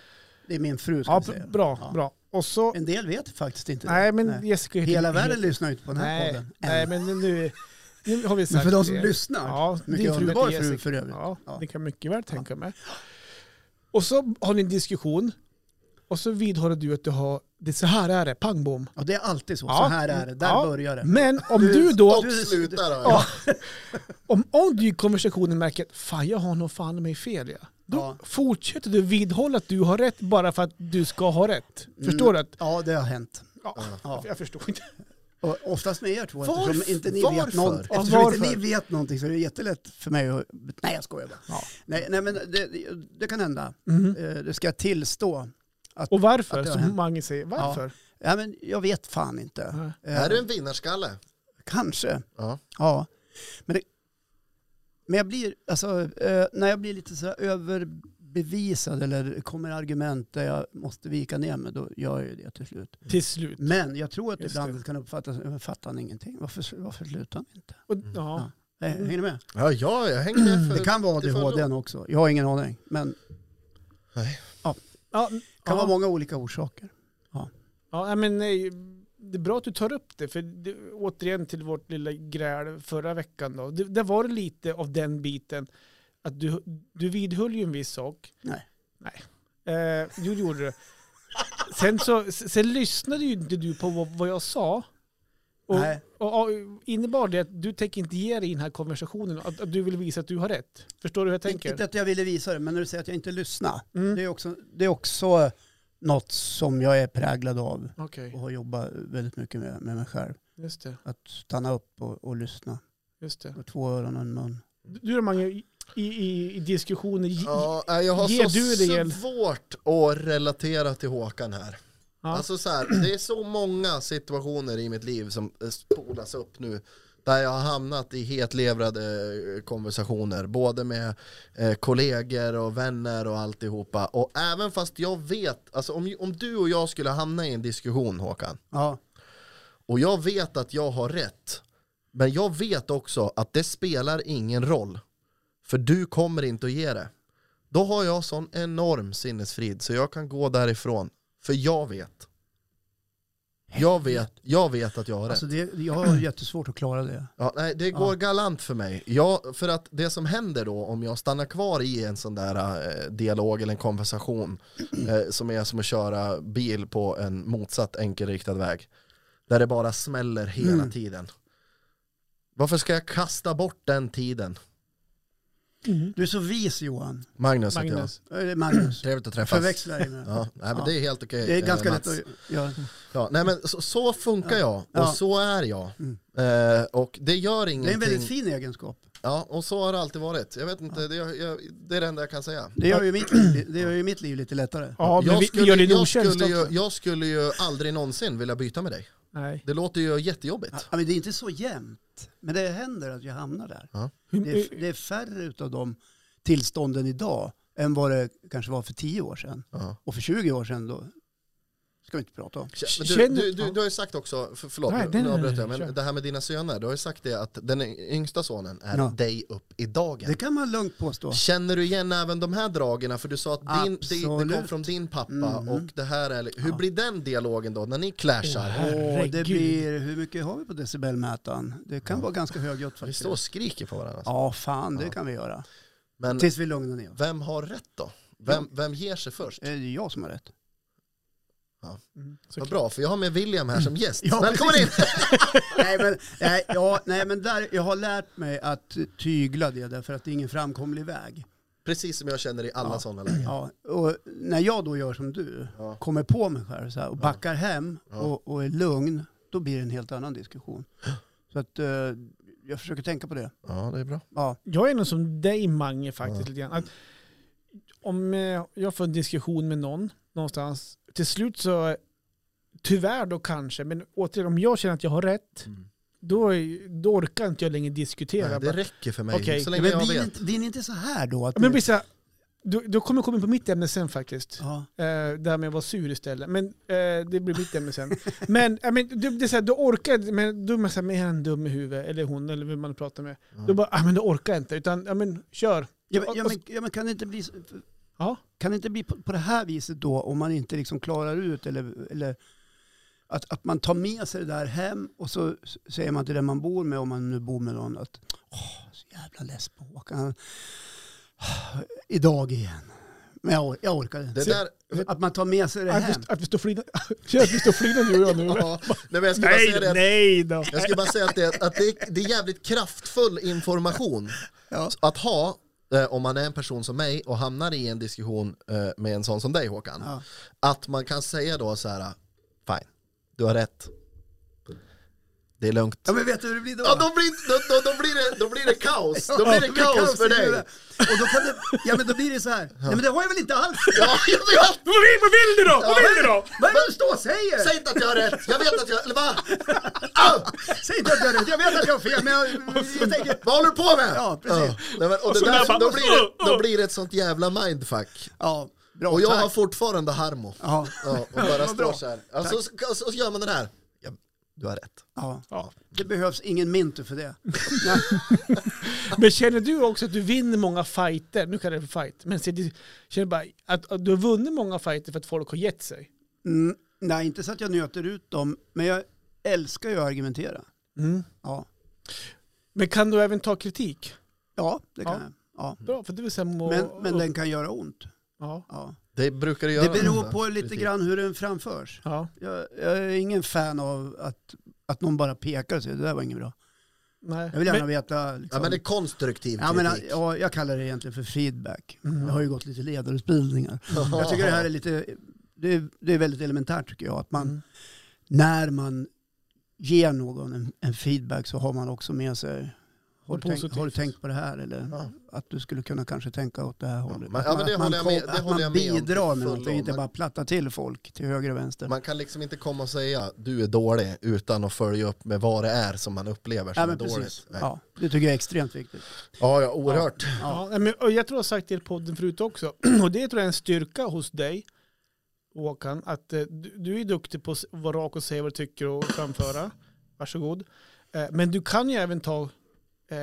det är min fru ska
Ja,
jag säga.
bra,
Ja.
bra. Och så,
En del vet faktiskt inte
nej
det.
men Jessica heter-
Hela världen lyssnar ju inte på den här
nej,
podden. än.
Nej, men nu, nu har vi sagt
men för de som
det.
lyssnar,
Ja,
mycket
din fru
underbar
heter
fru
Jessica.
för övrigt.
Ja,
Ja.
det kan jag mycket väl tänka mig. Och så har ni en diskussion och så vidhåller du att du har, det så här är det, pang bom.
Och det är alltid så.
Ja.
Så här är det. Där
Ja.
börjar det.
Men om du då,
Och sluta då.
Ja. om, om du i konversationen märker att fan jag har nog fan i mig fel ja. Då
Ja.
fortsätter du vidhålla att du har rätt bara för att du ska ha rätt. Förstår du? Att,
Ja, det har hänt.
ja,
Mm. Ja.
Jag förstår inte.
Och oftast med er två,
Varf-
eftersom inte ni,
varför?
vet, någon,
Ja,
eftersom
varför?
inte ni vet någonting så är det jättelätt för mig att... Nej, jag skojar bara.
Ja.
Nej, nej, men det, det kan hända.
Mhm.
Eh, Det ska jag tillstå.
Och
Att
varför?
det har
Som
hänt.
Mange säger. Varför?
Ja, men jag vet fan inte.
Nej.
Eh,
Är du en vinnarskalle?
Kanske.
Ja.
Ja. Men, det, men jag blir, alltså, eh, när jag blir lite så här överbevisad eller kommer argument där jag måste vika ner mig, då gör jag ju det till slut.
Till slut.
Men jag tror att
Just
ibland
det.
kan uppfattas, men fattar han ingenting? Varför, varför slutar han inte?
Och, ja.
Nej, Hänger ni med?
Ja, ja jag hänger med. För...
Mm, Det kan vara
det får
ADHD också. Jag har ingen aning. Men det
Ja,
kan
ja.
vara många olika orsaker.
Ja, nej, men nej, det är bra att du tar upp det, för det, återigen till vårt lilla gräl förra veckan då. Det, där var det lite av den biten, att du, du vidhöll ju en viss sak.
Nej.
Nej. Eh, jo, det gjorde du. Sen, så, sen lyssnade ju inte du på vad, vad jag sa. Och,
Nej.
och, och innebar det att du tänker inte ge dig i den här konversationen, att, att du vill visa att du har rätt. Förstår du hur jag tänker?
Inte att jag ville visa det, men när du säger att jag inte lyssnar.
Mm.
Det, är också, det är också något som jag är präglad av
Okej,
och har jobbat väldigt mycket med, med mig själv.
just det.
Att stanna upp och, och lyssna.
Just det.
Med två öron och en mun.
Du då Mange, i, i, i diskussioner, i-
Ja, nej, jag har
Ger
så
du det, Jel?
svårt att relatera till Håkan här.
Ja.
Alltså så här, det är så många situationer i mitt liv som eh, spolas upp nu. Där jag har hamnat i hetlevrade eh, konversationer, både med eh, kollegor och vänner och alltihopa. Och även fast jag vet, alltså om, om du och jag skulle hamna i en diskussion Håkan,
Ja,
och jag vet att jag har rätt. Men jag vet också att det spelar ingen roll. För du kommer inte att ge det. Då har jag sån enorm sinnesfrid så jag kan gå därifrån. För jag vet. Jag vet, jag vet att jag har rätt.
alltså det, jag har jättesvårt att klara det.
Ja, nej, det går galant för mig. Jag, för att det som händer då om jag stannar kvar i en sån där eh, dialog eller en konversation
Mm.
eh, som är som att köra bil på en motsatt enkelriktad väg. Där det bara smäller hela
Mm.
tiden. Varför ska jag kasta bort den tiden?
Mm.
Du är så vis Johan.
Magnus, heter Alltså jag.
Magnus.
Eller Magnus.
Trevligt att träffas.
Förväxlar dig med.
Ja, nej, men
Ja.
det är helt okej.
Det är
eh,
ganska
Mats.
lätt att göra.
Ja, nej, men så, så funkar jag och
Ja.
så är jag.
Mm.
Eh, och det gör ingenting.
Det är en väldigt fin egenskap.
Ja, och så har det alltid varit. Jag vet inte, det, jag, det är det enda jag kan säga.
Det gör ju mitt liv, det gör ju mitt liv lite lättare.
Ja, men vi,
jag,
vi
skulle,
gör det en
jag,
otjänst
skulle ju,
också.
jag skulle ju aldrig någonsin vilja byta med dig.
Nej.
Det låter ju jättejobbigt.
Ja, men det är inte så jämnt. Men det händer att jag hamnar där. Det är, det är färre utav de tillstånden idag än vad det kanske var för 10 år sedan.
Ja.
Och för 20 år sedan då ska vi inte prata om.
Men du,
Känner-
du, du,
ja.
du har ju sagt också, för, förlåt
Nej,
nu-
det-
nu avbröt jag,
kör.
men det här med dina söner, du har ju sagt det att den yngsta sonen är
Ja.
dig upp i dagen.
Det kan man lugnt påstå.
Känner du igen även de här dragen? För du sa att din, din, det kom
Absolut.
från din pappa
Mm.
Mhm.
och det här är... Hur
Ja.
blir den dialogen då när ni clashar?
Åh, herre.
Och det
Herregud.
blir, hur mycket har vi på decibelmätaren? Det kan vara ganska högljutt
Vi
faktiskt.
står och skriker på varandra.
Ja, fan det
Ja.
kan vi göra.
Men
Tills vi lugnar ner oss.
vem har rätt då? Vem, vem ger sig först?
Är det jag som har rätt?
Mm, så
Vad
klart.
bra, för jag har med William här som gäst.
Ja,
Välkommen in! (laughs)
nej, men, nej, ja, nej, men där, jag har lärt mig att tygla det därför att det är ingen framkomlig väg.
Precis som jag känner i alla
Ja.
sådana lägen.
Ja, och när jag då gör som du,
Ja.
kommer på mig själv så här, och backar hem
Ja.
och, och är lugn, då blir det en helt annan diskussion. Så att eh, jag försöker tänka på det.
Ja, det är bra.
Ja,
Jag är nog som dig Mange faktiskt
Ja.
lite grann. Att om eh, jag får en diskussion med någon någonstans, till slut så, tyvärr då kanske, men återigen om jag känner att jag har rätt, då, är- då orkar inte jag längre diskutera.
Mm. Nej, det räcker för mig,
Okej.
så
men
länge jag
blir ni,
vet.
inte- blir ni inte så här då? Att
Ja, men
ni,
Brisa, då, då kommer jag komma in på mitt ämne sen faktiskt.
ja,
Eh, det här med att vara sur istället. Men eh, det blir mitt ämne sen. men eh, men du, det är så här, du orkar men du är man så här, men är han dum i huvudet? Eller hon, eller vem man pratar med.
Ja.
Då bara, ah, men du orkar jag inte. Utan, ja men kör.
ja, men, ja,
Och-
men, ja, men kan det inte bli, så-
Ja.
kan det inte bli på, på det här viset då om man inte liksom klarar ut eller, eller att, att man tar med sig det där hem och så s- säger man till den man bor med, om man nu bor med någon, att åh, så jävla less på Håkan. Han- Idag igen. Men jag, or- jag orkar inte.
Det där, (laughs)
Att man tar med sig det
Att
hem.
vi, att vi står (laughs) flina, Kör att vi står flina du och jag nu.
ja, nej, men jag skulle bara
nej,
säga det, att-
nej då.
jag skulle bara säga att, det, att det, är, det är jävligt kraftfull information
Ja.
att ha eh, om man är en person som mig och hamnar i en diskussion eh, med en sån som dig Håkan,
Ja.
att man kan säga då så här, fine, du har rätt. Det är lugnt.
Ja, men vet du hur det blir då?
Ja, då, blir, då, då, då, blir det, då blir det kaos. Då blir det kaos för
i
dig.
huvudet. Och då kan det, ja men då blir det så här. Nej men det har jag väl inte alls.
Ja, jag vet.
Vad vill, vad vill du då? Vad vill du då?
Vad är det du står och säger?
Säg inte att jag har rätt. Jag vet att jag... Eller va? Ah!
Säg inte att jag har rätt. Jag vet att jag har fel men jag, jag tänker.
Vad håller du på med?
Ja, precis.
Nej, men, och det
så
där,
där bara-
då, blir det, då blir det ett sånt jävla mindfuck.
Ja, bra.
Och jag
tack.
har fortfarande harmo.
Ja,
Ja, och
Ja,
bara
(laughs) vad
står
bra.
så här. Ja, så, så, så gör man den här. Ja, du har rätt.
ja.
Ja.
Det behövs ingen Mintu för det.
Men känner du också att du vinner många fighter? Nu kallar jag det för fight. Men ser du, känner du bara att, att du har vunnit många fighter för att folk har gett sig?
Mm, nej, inte så att jag nöter ut dem, men jag älskar ju att argumentera.
Mm.
Ja,
Men kan du även ta kritik?
ja det kan
Ja.
jag. Ja.
Bra, för du är sämre och-
Men, men den kan göra ont.
Ja.
Ja.
Det brukar
Det beror på lite grann hur den framförs.
ja.
Jag, jag är ingen fan av att, att någon bara pekar och säger det där var inget bra.
Nej.
Jag vill gärna
men,
veta.
Ja,
Liksom,
men det är konstruktiv
ja, men,
kritik.
ja, jag kallar det egentligen för feedback.
Mm.
Jag har ju gått lite ledarutbildningar. Jag tycker det här är lite, det är, det är väldigt elementärt tycker jag. Att man,
Mm.
när man ger någon en, en feedback så har man också med sig har
Något
du, tänkt,
positivt.
har du tänkt på det här eller
Ja.
att du skulle kunna kanske tänka åt det här hållet?
men-
Att
ja,
man-
men det
att
håller
man
jag med-
kom- att
det håller jag
man
med om till
bidrar med
fullo,
någonting, inte
men-
bara platta till folk till höger och vänster.
Man kan liksom inte komma och säga du är dålig utan att följa upp med vad det är som man upplever som
ja,
är
men
dåligt.
precis.
Nej.
Ja, det tycker jag är extremt viktigt.
Ja, ja, oerhört.
ja. men, och jag tror jag har sagt det i podden förut också. (clears throat) Och det tror jag är en styrka hos dig, Håkan, att eh, du, du är duktig på att vara rak och säga vad du tycker och framföra. Varsågod. Eh, men du kan ju även ta... Eh,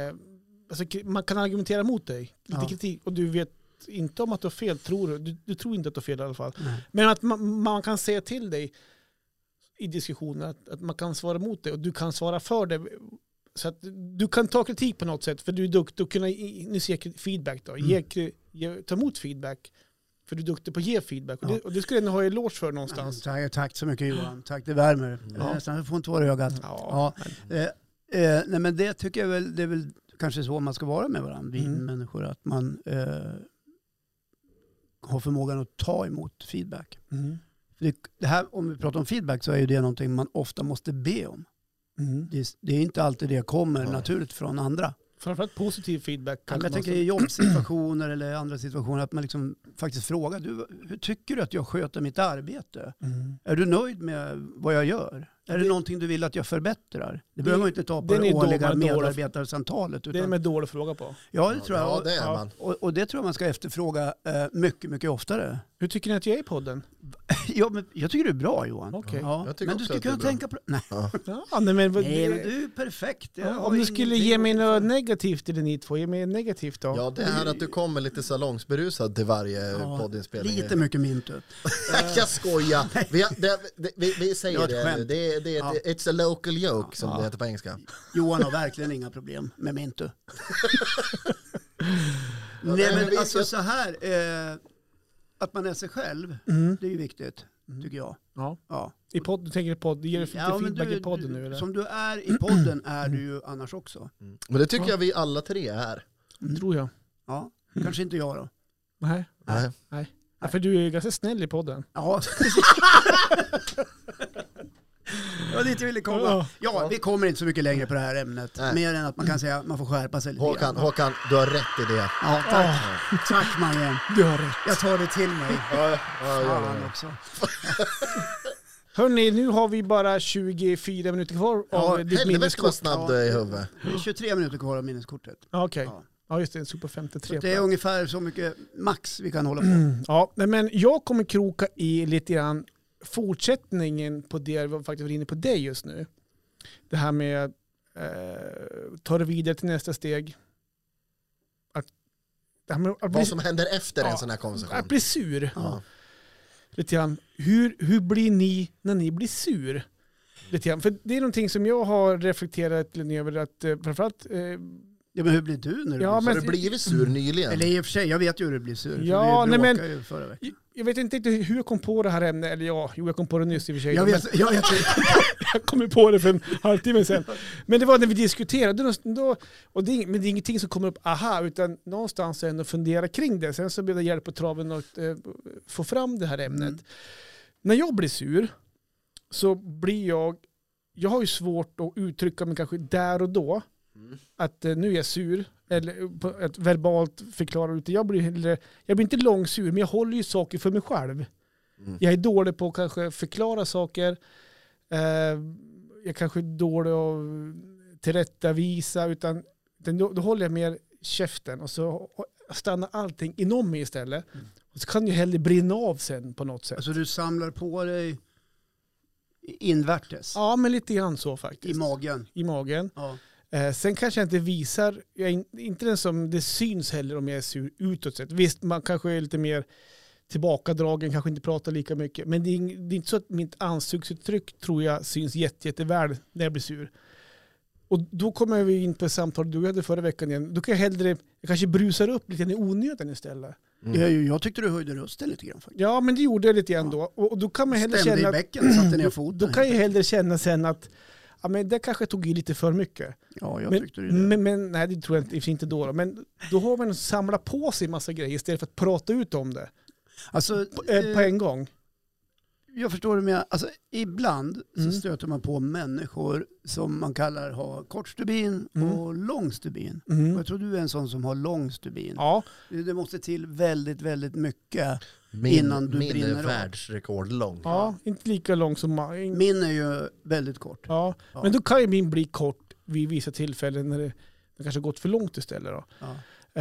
alltså, kri- man kan argumentera mot dig. Lite
Ja.
kritik. Och du vet inte om att du har fel, tror du. Du, du tror inte att du har fel i alla fall.
Nej.
Men att man, man kan säga till dig i diskussioner att, att man kan svara mot det och du kan svara för det. Så att du kan ta kritik på något sätt för du är duktig att kunna, i- nu ser jag kri- feedback då, ge, kri- ge, ta emot feedback. För du är duktig på att ge feedback och, det,
Ja.
och det skulle jag ändå ha eloge för någonstans.
Tack, tack så mycket Johan, tack det värmer.
Ja.
Ja. Nästan, jag får inte vara i ögat.
Ja.
Mm. Ja. Eh, eh, nej men det tycker jag väl, det är väl kanske så man ska vara med varandra, vi
Mm.
människor, att man eh, har förmågan att ta emot feedback.
Mm.
För det, det här, om vi pratar om feedback så är ju det någonting man ofta måste be om.
Mm.
Det, är- det är inte alltid det kommer
Ja.
naturligt från andra.
Framförallt positiv feedback.
Men
kanske
jag
man
tänker i jobbsituationer eller andra situationer att man liksom faktiskt frågar, du, hur tycker du att jag sköter mitt arbete?
ska- Mm.
Är du nöjd med vad jag gör? Är det,
Det-
någonting du vill att jag förbättrar? Det, behöver man ju inte ta på
den är
det
dålig,
årliga
dålig.
medarbetarsamtalet.
Det är
Utan,
med dålig fråga på.
ja, det tror jag.
Ja,
Och,
det är
Ja.
man.
och, och det tror jag man ska efterfråga eh, mycket, mycket oftare. (laughs)
Hur tycker ni att jag är i podden?
ja, men jag tycker du är bra Johan.
Okej.
Ja,
Jag tycker
men
också
du
att
skulle
du är
kunna
bra.
tänka på... Nej.
(laughs) Ja, nej, men, vad-
Nej, men du är perfekt. Jag
ja,
har
om du skulle
ingenting
ge mig
emot
något
det.
negativt eller ni två, ge mig negativt då.
Ja, det här att du kommer lite salongsberusad till varje
Ja,
poddinspelning.
Lite mycket mintu.
(laughs) jag skojar! Vi, har- det, det, vi, vi säger
Det var
det,
ett
nu,
skämt.
det, är- det, är ett- it's a local joke som
Ja.
det heter på engelska.
Johan har verkligen inga problem med mintu.
(laughs) nej,
Nej
men vi-
men alltså
jag-
så här, eh, att man är sig själv,
Mm.
det är ju viktigt tycker jag.
Ja.
Ja.
I podd, du tänker i podd, ger du lite
Ja, men
feedback
du,
i podden nu
du,
eller?
som du är i podden är du ju annars också.
Mm. Men det tycker jag vi alla tre är.
Mm. Tror jag.
Ja,
Mm.
kanske inte jag då.
Nej.
Nej.
Ja, för du är ganska snäll i podden.
Ja, (laughs) det var dit jag ville komma.
Ja.
Ja, vi kommer inte så mycket längre på det här ämnet.
Nej.
Mer än att man kan säga att man får skärpa sig lite
Håkan,
grann.
Håkan, du har rätt i det.
Ja, tack. Tack Mange.
Du har rätt.
Jag tar det till mig.
Ja,
Fan också.
Hörni, nu har vi bara 24 minuter kvar av
Ja,
ditt
Helvete vad
minneskort.
snabb du är eh, i huvudet.
Det är 23 minuter kvar av minneskortet.
Ja, Okej.
Ja.
Ja, just det. Super
Så
53.
det är ungefär så mycket max vi kan hålla på.
Mm. Ja, nej, men jag kommer kroka i lite grann fortsättningen på det jag faktiskt var inne på dig just nu. Det här med eh, ta det vidare till nästa steg. Att, det här med att, bli,
Vad som händer efter en
Ja.
sån här
att
konversation.
bli sur.
Ja.
lite grann. Hur, hur blir ni när ni blir sur? Lite grann. För det är någonting som jag har reflekterat lite över att eh, framförallt, eh,
Ja, men hur blir du när du
Ja,
blir
Har
men-
du blivit sur
sur?
nyligen?
Eller i och för sig, jag vet ju hur du blir sur. för
Ja,
vi
nej,
bråkade ju förra veckan.
jag vet inte riktigt hur jag kom på det här ämnet, eller ja, jo jag kom på det nyss i och för sig.
Jag
men-
vet, jag vet,
(laughs) jag kom ju på det för en halvtimme sedan. Men det var när vi diskuterade, då- då, och det, är ing- men det är ingenting som kommer upp aha, utan någonstans är ändå fundera kring det. Sen så blev det hjälp på traven att eh, få fram det här ämnet.
Mm.
När jag blir sur så blir jag, jag har ju svårt att uttrycka mig kanske där och då,
Mm.
att eh, nu är jag sur, eller eh, på, att verbalt förklara, utan jag blir, hellre, jag blir inte långsur, men jag håller ju saker för mig själv.
Mm.
Jag är dålig på att kanske förklara saker. Eh, jag kanske är dålig att tillrättavisa. Utan, utan då, då håller jag mer käften och så stannar allting inom mig istället.
Mm.
Och så kan ju hellre brinna av sen på något sätt.
Alltså du samlar på dig invärtes
ja, men lite grann så
i
faktiskt.
magen.
I magen.
Ja.
Eh, sen kanske jag inte visar, jag är in, inte den som det syns heller om jag är sur utåt sett. Visst, man kanske är lite mer tillbakadragen, kanske inte pratar lika mycket. Men det är, ing- det är inte så att mitt ansiktsuttryck tror jag syns jätte, jätteväl när jag blir sur. Och då kommer vi in på ett samtal du hade förra veckan igen. Då kan jag hellre, jag kanske brusar upp lite i onödan istället.
Jag, jag tyckte du höjde rösten lite grann faktiskt.
Ja, men det gjorde jag lite grann då. Och, och då kan man hellre
Stämde
känna
i
att,
bäcken, satte ner foten.
då kan jag hellre känna sen att ja, men det kanske tog i lite för mycket.
Ja, jag
Men- Mm.
tyckte det.
Men, men nej, det tror jag inte, i och för sig inte då, då. Men då har man samlat på sig massa grejer istället för att prata ut om det
Alltså,
på, eh,
eh,
på en gång.
jag förstår det med, alltså, ibland
Mm.
så stöter man på människor som man kallar ha kort stubin
Mm.
och lång stubin. Och
Mm.
Jag tror du är en sån som har lång stubin.
Ja,
Det det måste till väldigt, väldigt mycket.
Min,
Innan du
min är
brinner av.
världsrekord lång.
ja, inte lika lång som man.
Min är ju väldigt kort.
Ja.
Ja.
Men då kan ju min bli kort vid vissa tillfällen när det, det kanske har gått för långt istället. Då.
Ja.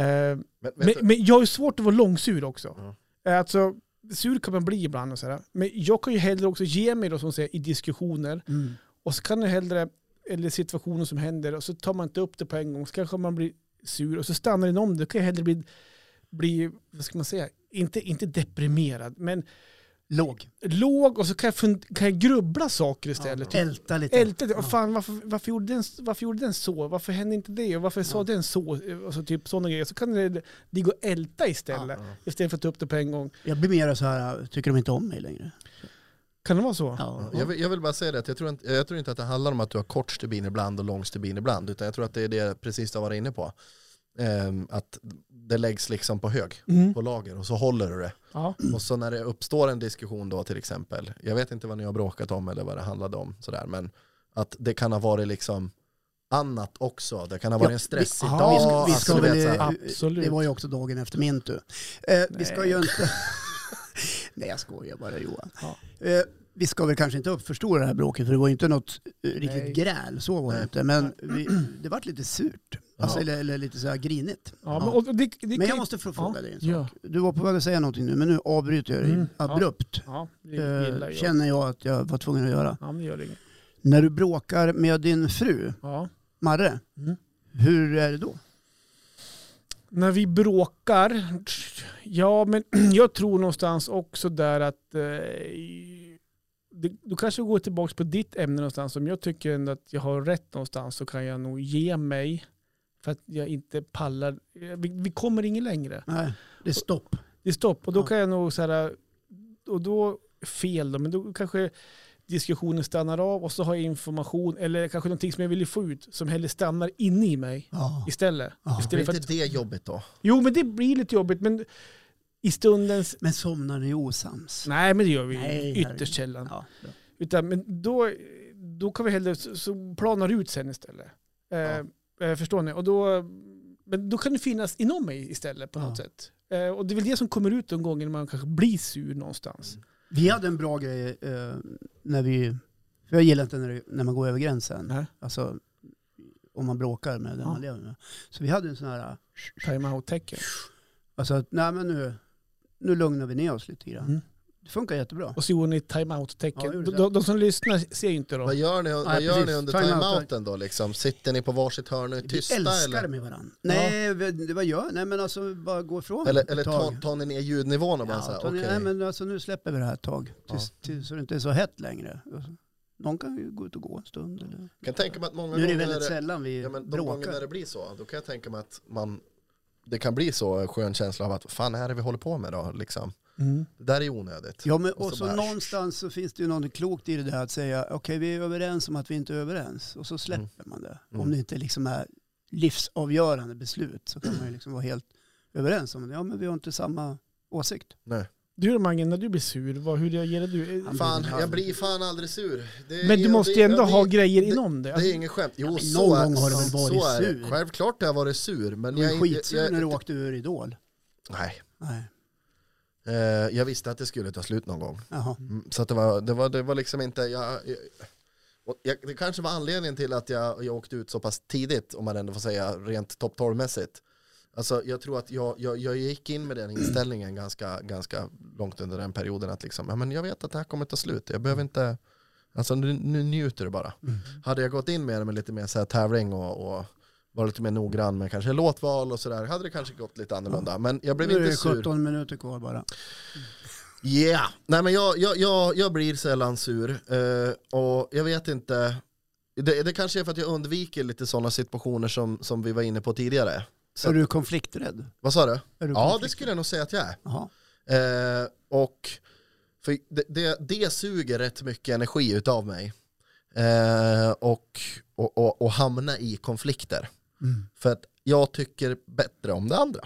Eh,
Men, vet
men,
du-
men jag har ju svårt att vara långsur också.
Ja.
Eh, Alltså, sur kan man bli ibland och sådär. Men jag kan ju hellre också ge mig då, som säger, i diskussioner
Mm.
Och så kan det hellre, eller situationen som händer, och så tar man inte upp det på en gång. Så kanske man blir sur och så stannar den om det. Då kan jag hellre bli, bli vad ska man säga, inte, inte deprimerad, men
Låg.
låg och så kan jag, fund- kan jag grubbla saker istället. Ja.
Älta lite.
Älta, det.
Ja.
och fan varför, varför, gjorde den, varför gjorde den så? Varför hände inte det? Och varför sa
Ja.
den så? Alltså typ sådana grejer. Så kan det ligga och älta istället.
Ja.
Istället för att ta upp det på en gång.
Jag blir mer så här, tycker de inte om mig längre?
Kan det vara så?
Ja.
Jag vill, jag vill bara säga det, att jag tror, inte, jag tror inte att det handlar om att du har kort stubin ibland och lång stubin ibland, utan jag tror att det är det precis du var inne på. Ehm, att det läggs liksom på hög,
Mm.
på lager, och så håller du det.
Ja.
Mm.
Och så när det uppstår en diskussion då till exempel, jag vet inte vad ni har bråkat om eller vad det handlade om, sådär, men att det kan ha varit liksom annat också. Det kan ha varit
Ja,
en stressig
vi-
dag.
vi ska-
vi
alltså,
ska
du vet,
väl,
så
eh,
här,
Absolut.
Det var ju också dagen efter min tur. Eh, vi ska
Nej.
ju inte...
(laughs)
Nej, jag skojar bara Johan.
Ja.
Eh, vi ska väl kanske inte uppförstora det här bråket, för det var ju inte något eh, riktigt
Nej.
gräl, så var det
Nej.
inte. Men vi, det vart lite surt, alltså,
Ja.
eller, eller lite så här grinigt.
Ja, men, och det, det
Men
kan
jag
ju-
måste få fråga dig en sak.
Ja.
Du var på väg att säga någonting nu, men nu avbryter jag dig
Mm, ja.
abrupt.
Ja, det gillar
Eh,
jag.
känner jag att jag var tvungen att göra.
Ja, men det gör inget.
När du bråkar med din fru,
Ja.
Marre,
Mm.
hur är det då?
När vi bråkar, ja men (clears throat) jag tror någonstans också där att eh, det, du kanske går tillbaka på ditt ämne någonstans. Om jag tycker ändå att jag har rätt någonstans så kan jag nog ge mig för att jag inte pallar. eh, Vi, vi kommer ingen längre.
Nej, det är stopp.
Det är stopp och då
Ja.
kan jag nog så här, och då fel då, men då kanske diskussionen stannar av och så har jag information eller kanske någonting som jag vill få ut som hellre stannar inne i mig
Ja.
istället.
Ja.
Blir
istället för
inte
att,
det jobbigt då?
jo, men det blir lite jobbigt, men i stundens...
Men somnar ni osams?
Nej, men det gör vi
Nej, herregud.
ytterst sällan.
Ja.
Utan, men då, då kan vi hellre, så, så planar det ut sen istället. Eh,
Ja.
eh, förstår ni? Och då, men då kan det finnas inom mig istället på något
Ja.
sätt. Eh, och det är väl det som kommer ut de gånger man kanske blir sur någonstans.
Mm.
Vi hade en bra grej eh, när vi... För jag gillar inte när, det- när man går över gränsen.
Nej.
Alltså om man bråkar med den
Ja.
man lever med. Så vi hade en sån här...
Time out-tecken.
Alltså att nej men nu, nu lugnar vi ner oss lite grann.
Mm.
Det funkar jättebra.
Och så gjorde ni time
Ja, jag
out-tecken.
gjorde
de,
det.
de, de som lyssnar ser ju inte då.
Vad gör ni, vad gör
precis.
ni under
Timeouten.
timeouten då? Liksom? Sitter ni på varsitt hörn och är
Vi
tysta?
älskar
eller?
med varandra. Nej, vi- det var jag. Nej men alltså bara gå ifrån
Eller,
ett
eller
tag.
tar, tar ni ner ljudnivån och bara
Ja,
så här,
Tony,
okej.
Nej men alltså nu släpper vi det här ett tag. Tills, tills, så det inte är så hett längre. Alltså, Någon kan ju gå ut och gå en stund. Eller.
Jag kan tänka mig att många
Nu är det
gånger
väldigt
när det,
sällan vi
ja, men de gånger
bråkar.
när det blir så, då kan jag tänka mig att man, det kan bli så en skön känsla av att fan är det vi håller på med då? Liksom.
Mm.
Det där är onödigt.
Ja, men,
Och
och
så
så
bara-
någonstans så finns det ju något klokt i det där att säga okej vi är överens om att vi inte är överens och så släpper man det.
Mm.
Om det inte liksom är livsavgörande beslut så kan man ju liksom vara helt överens om det. Ja men vi har inte samma åsikt.
Du då Mange, när du blir sur, vad, hur reagerar du?
Han-
Fan,
blir-
jag blir fan aldrig sur. Det är-
Men du måste ju ändå
det,
ha
det,
grejer inom Alltså,
Det
det.
är ingen skämt. Jo,
men
så
någon
är,
gång har du väl
så
varit
är det.
sur?
Självklart har jag varit sur. Men
Du var
jag,
ju
jag-
skitsur
jag,
när du åkte ur Idol.
Nej,
Nej,
eh, jag visste att det skulle ta slut någon gång.
jaha.
Mm, Så att det, var, det, var, det var liksom inte, jag, jag, och jag, det kanske var anledningen till att jag, jag åkte ut så pass tidigt, om man ändå får säga, rent topp 12-mässigt. Alltså jag tror att jag, jag, jag gick in med den
Mm.
inställningen ganska, ganska långt under den perioden att liksom, ja, men jag vet att det här kommer ta slut, jag behöver inte, alltså nu, nu njuter du bara.
Mm.
Hade jag gått in med det med lite mer så här tävling och, och var lite mer noggrann med kanske låtval och sådär, hade det kanske gått lite annorlunda. Men jag blev
Nu är
inte
det
sur.
17 minuter kvar bara.
Yeah! Nej men jag, jag, jag, jag blir sällan sur eh, och jag vet inte, det, det kanske är för att jag undviker lite sådana situationer som, som vi var inne på tidigare. Så-
Är du konflikträdd?
Vad sa du?
Är du
Ja det
konflikträdd?
skulle jag nog säga att jag är.
Jaha.
Eh, och för det, det, det suger rätt mycket energi utav mig. Eh, och, och, och, och hamna i konflikter.
Mm.
För att jag tycker bättre om det andra.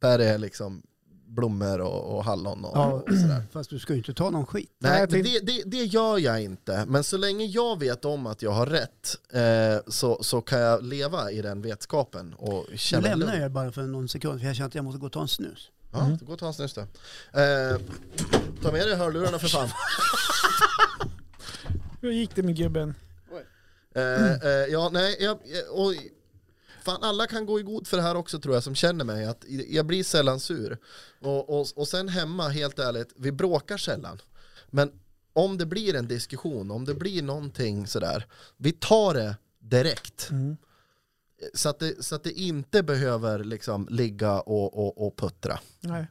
Där är liksom blommor och, och hallon och,
Ja.
och sådär.
Fast du ska ju inte ta någon skit.
Nej,
Nej,
men
jag
det, det, det gör jag inte. Men så länge jag vet om att jag har rätt eh, så, så kan jag leva i den vetskapen och
Nu
känna
lämnar jag
lugn.
er bara för någon sekund för jag känner att jag måste gå och ta en snus.
Ja, gå och ta en snus då. Eh, ta med dig hörlurarna för fan.
Hur gick det med gubben?
Eh, eh, ja, nej, jag, jag- och, fan alla kan gå i god för det här också tror jag som känner mig, att jag blir sällan sur. Och, och, och sen hemma, helt ärligt, vi bråkar sällan. Men om det blir en diskussion, om det blir någonting sådär, vi tar det direkt.
Mm.
Så att, det, så att det inte behöver liksom ligga och, och, och puttra.
Nej.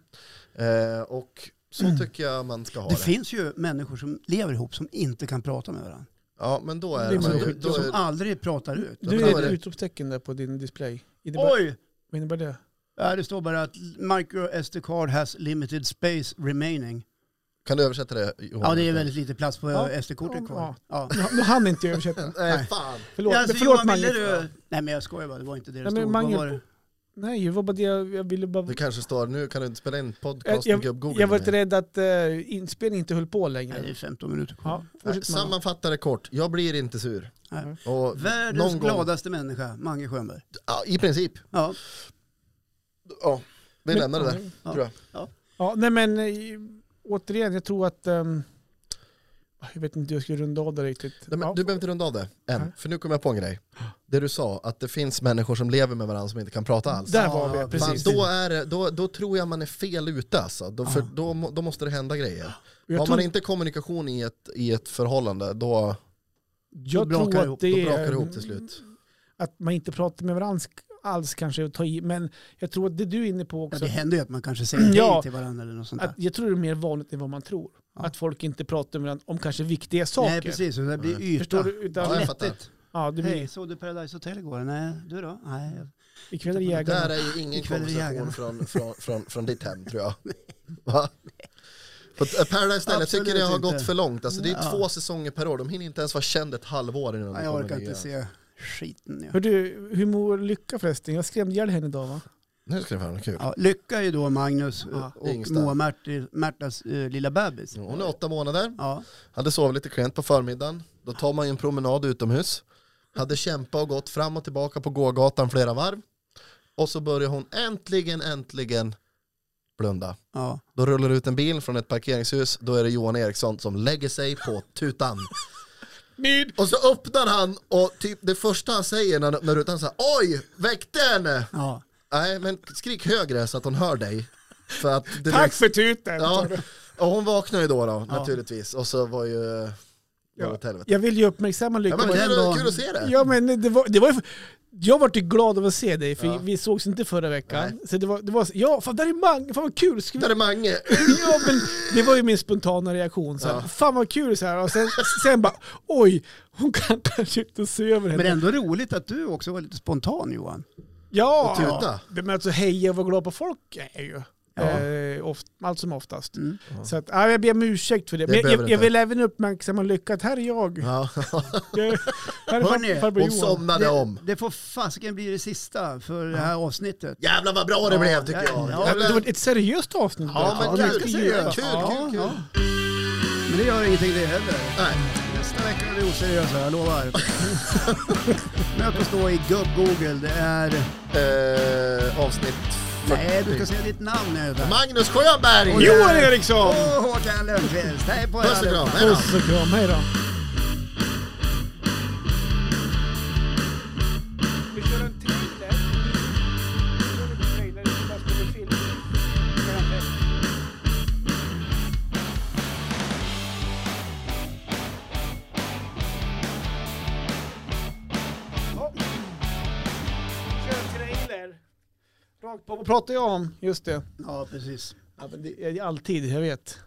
Eh, och så
Mm.
tycker jag man ska ha
Det
det.
finns ju människor som lever ihop som inte kan prata med varandra.
Ja men då är
Det
det,
är
man ju,
skit-
då
Som
är,
aldrig pratar ut.
Du
men
Alltså, är
vad är
ett
det?
utropstecken där på din display. Innebär,
Oj!
vad innebär det?
Ja, det står bara att micro SD card has limited space remaining.
Kan du översätta det Johan?
Ja, det är väldigt lite plats på
Ja.
SD-kortet kvar.
Ja.
Ja.
Nu- Nu hann inte jag översätta.
(laughs) Nej fan.
Förlåt,
Ja, alltså,
förlåt
Johan, ville
Mange.
du... Nej, men jag skojar bara. Det var inte det det
Nej, men
stod. Vad
Mange-
var det?
Nej, det var bara det jag, jag ville bara...
Det kanske står, nu kan du inte spela in podcast med gubb-Google.
jag var lite rädd att uh, inspelningen inte höll på längre.
Nej, det är 15 minuter kvar.
Ja,
Nej,
fortsätt Mange.
Sammanfatta det kort, jag blir inte sur.
Nej.
Och
Världens
någon gång-
gladaste människa, Mange Schönberg.
Ja, I princip.
Ja.
Ja, vi
Men-
lämnar det där.
Ja, nej men eh, återigen, jag tror att... ehm, ah, jag vet inte hur jag skulle runda av det riktigt.
Nej,
ja.
men du behöver inte runda av det
Nej.
än, för nu kommer jag på en grej. Det du sa, att det finns människor som lever med varandra som inte kan prata alls.
Där var
Ja,
vi, precis.
alltså, Fan, då, är det, då, då tror jag man är fel ute alltså. då, för
Ja.
då, må- då måste det hända grejer.
jag
Har
tror,
man inte kommunikation i ett, i ett förhållande, då,
Då
jag
brakar det
tror
ihop,
att
då
det
då
är...
brakar det ihop till slut.
Att man inte pratar med varandra alls kanske, och tar i, men jag tror att det du är inne på
Ja,
också,
det händer ju att man kanske säger hej
Ja.
till varandra eller något sånt där.
att jag tror det är mer vanligt än vad man tror.
Ja.
Att folk inte pratar med varandra om kanske viktiga saker.
Nej, precis. Så det blir
Nej.
yta.
Förstår du? Utan,
Ja, jag
ja,
fattar.
Lättigt.
det blir,
Hej, såg du Paradise Hotel igår? Nej, du då? Nej.
ikväll är det
Där
jägarna.
är ju ingen
Ikväll är det jägarna.
konversation från, från, från, från ditt hem
(laughs)
tror jag. Va? På Paradise Hotel, jag tycker
Absolut
det har
inte.
gått för långt. Alltså, det är
Ja.
två säsonger per år, de hinner inte ens vara känd ett halvår innan
Nej,
de
jag
kommer
orkar
nya.
inte se skiten. Ja.
Hör du, hur mår Lycka förresten? Jag skrämde ihjäl henne idag va?
Nu ska det vara kul.
Ja, lycka ju då Magnus eh,
Ja,
och
Yngsta.
Moa Märti- Märtas eh, lilla bebis.
Hon är åtta månader,
Ja.
hade sovit lite klent på förmiddagen. Då tar man ju en promenad utomhus. Hade kämpat och gått fram och tillbaka på gågatan flera varv. Och så börjar hon äntligen, äntligen blunda.
Ja.
Då rullar det ut en bil från ett parkeringshus. Då är det Johan Eriksson som lägger sig på tutan.
Mid!
Och så öppnar han och typ det första han säger när han öppnar rutan så här, oj, väckte henne!
ja.
Nej, men skrik högre så att hon hör dig. För att det
Tack för tuten!
Ja, och hon vaknade ju då, då
Ja.
naturligtvis. Och så var ju... Var
Ja.
ja. åt helvete.
Jag vill ju uppmärksamma
Ja,
Lycka.
men
på den
kul,
dagen.
kul att se det.
Ja, men det var, det var ju, jag vart ju glad över att se dig, för
Ja.
vi sågs inte förra veckan. Så det var, det var så, ja, fan där är Mange, fan vad kul! Ska vi, (laughs)
Där är Mange.
ja, men det var ju min spontana reaktion. Så här,
Ja.
Fan vad kul! Så här, och sen, sen bara, oj, hon kan kanske inte se över henne.
Men ändå roligt att du också var lite spontan Johan.
ja,
och tuta.
det men alltså heja och vara glad på folk är ju.
Ja.
Eh, oft, allt som oftast.
Mm.
Så att, ja, jag ber om ursäkt för det.
Det
Men
behöver
jag,
du
jag
inte.
vill även uppmärksamma Lycka att här är jag.
(laughs) Ja.
jag här är
Hörrni,
far, farbror
Hon
Johan.
somnade om.
Det, det får fasiken bli det sista för det här avsnittet.
Jävlar vad bra det
Ja,
blev tycker jag.
ja, ja.
Ja, men det var ett seriöst avsnitt.
Ja, men
det
kul,
ska
kul,
vi
kul,
göra.
kul,
Ja,
kul, kul.
ja. Men det gör ingenting det heller.
Nej.
Nästa vecka är vi oseriösa, jag
(laughs)
lovar. Möt oss då i gubb-Google. Det är...
Eh, avsnitt 40.
Nej, du ska säga ditt namn nu. där.
Magnus Sjöberg!
Oj,
Johan Eriksson!
Och Håkan Lundqvist. Hej på er
Puss och kram,
allihopa.
hej då.
Puss och kram, hej då. Vi kör en trailer. Vi kör en trailer, där ska vi filma. Vi kör en trailer. Ja. Kör en trailer. Rakt på. Vad pratar jag om? Just det.
Ja, precis.
Ja, men det är alltid, jag vet.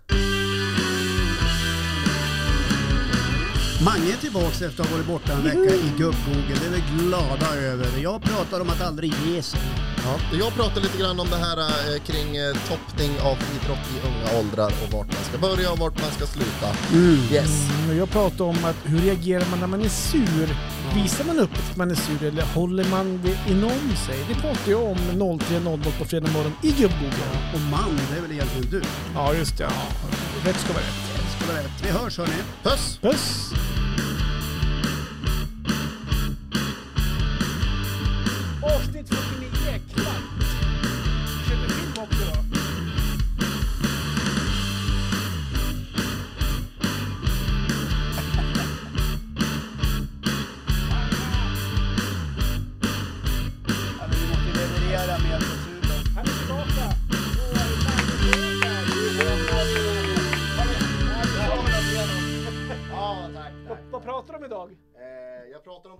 Mange är tillbaka efter att ha varit borta en vecka i gubb-Google. Det är vi glada över. Jag pratar om att aldrig ge sig.
Ja, jag pratade lite grann om det här eh, kring eh, toppning av idrott i unga åldrar och vart man ska börja och vart man ska sluta. Yes.
Mm, och jag pratar om att hur reagerar man när man är sur? Visar man upp att man är sur eller håller man det inom sig? Det pratade jag om 03.00 på fredag morgon i gubbboken.
Och man, det är väl egentligen du.
Ja, just det. Ja. Rätt ska vara rätt.
Det ska vara rätt. Vi hörs hörni.
Puss!
Puss! Avsnitt 49, klart! Köpte film också då.
Ja, men vi måste leverera mer på tuben.
Han är tillbaka! Då är det dags för fredag. Vad pratar de om idag?
Eh, Jag pratar om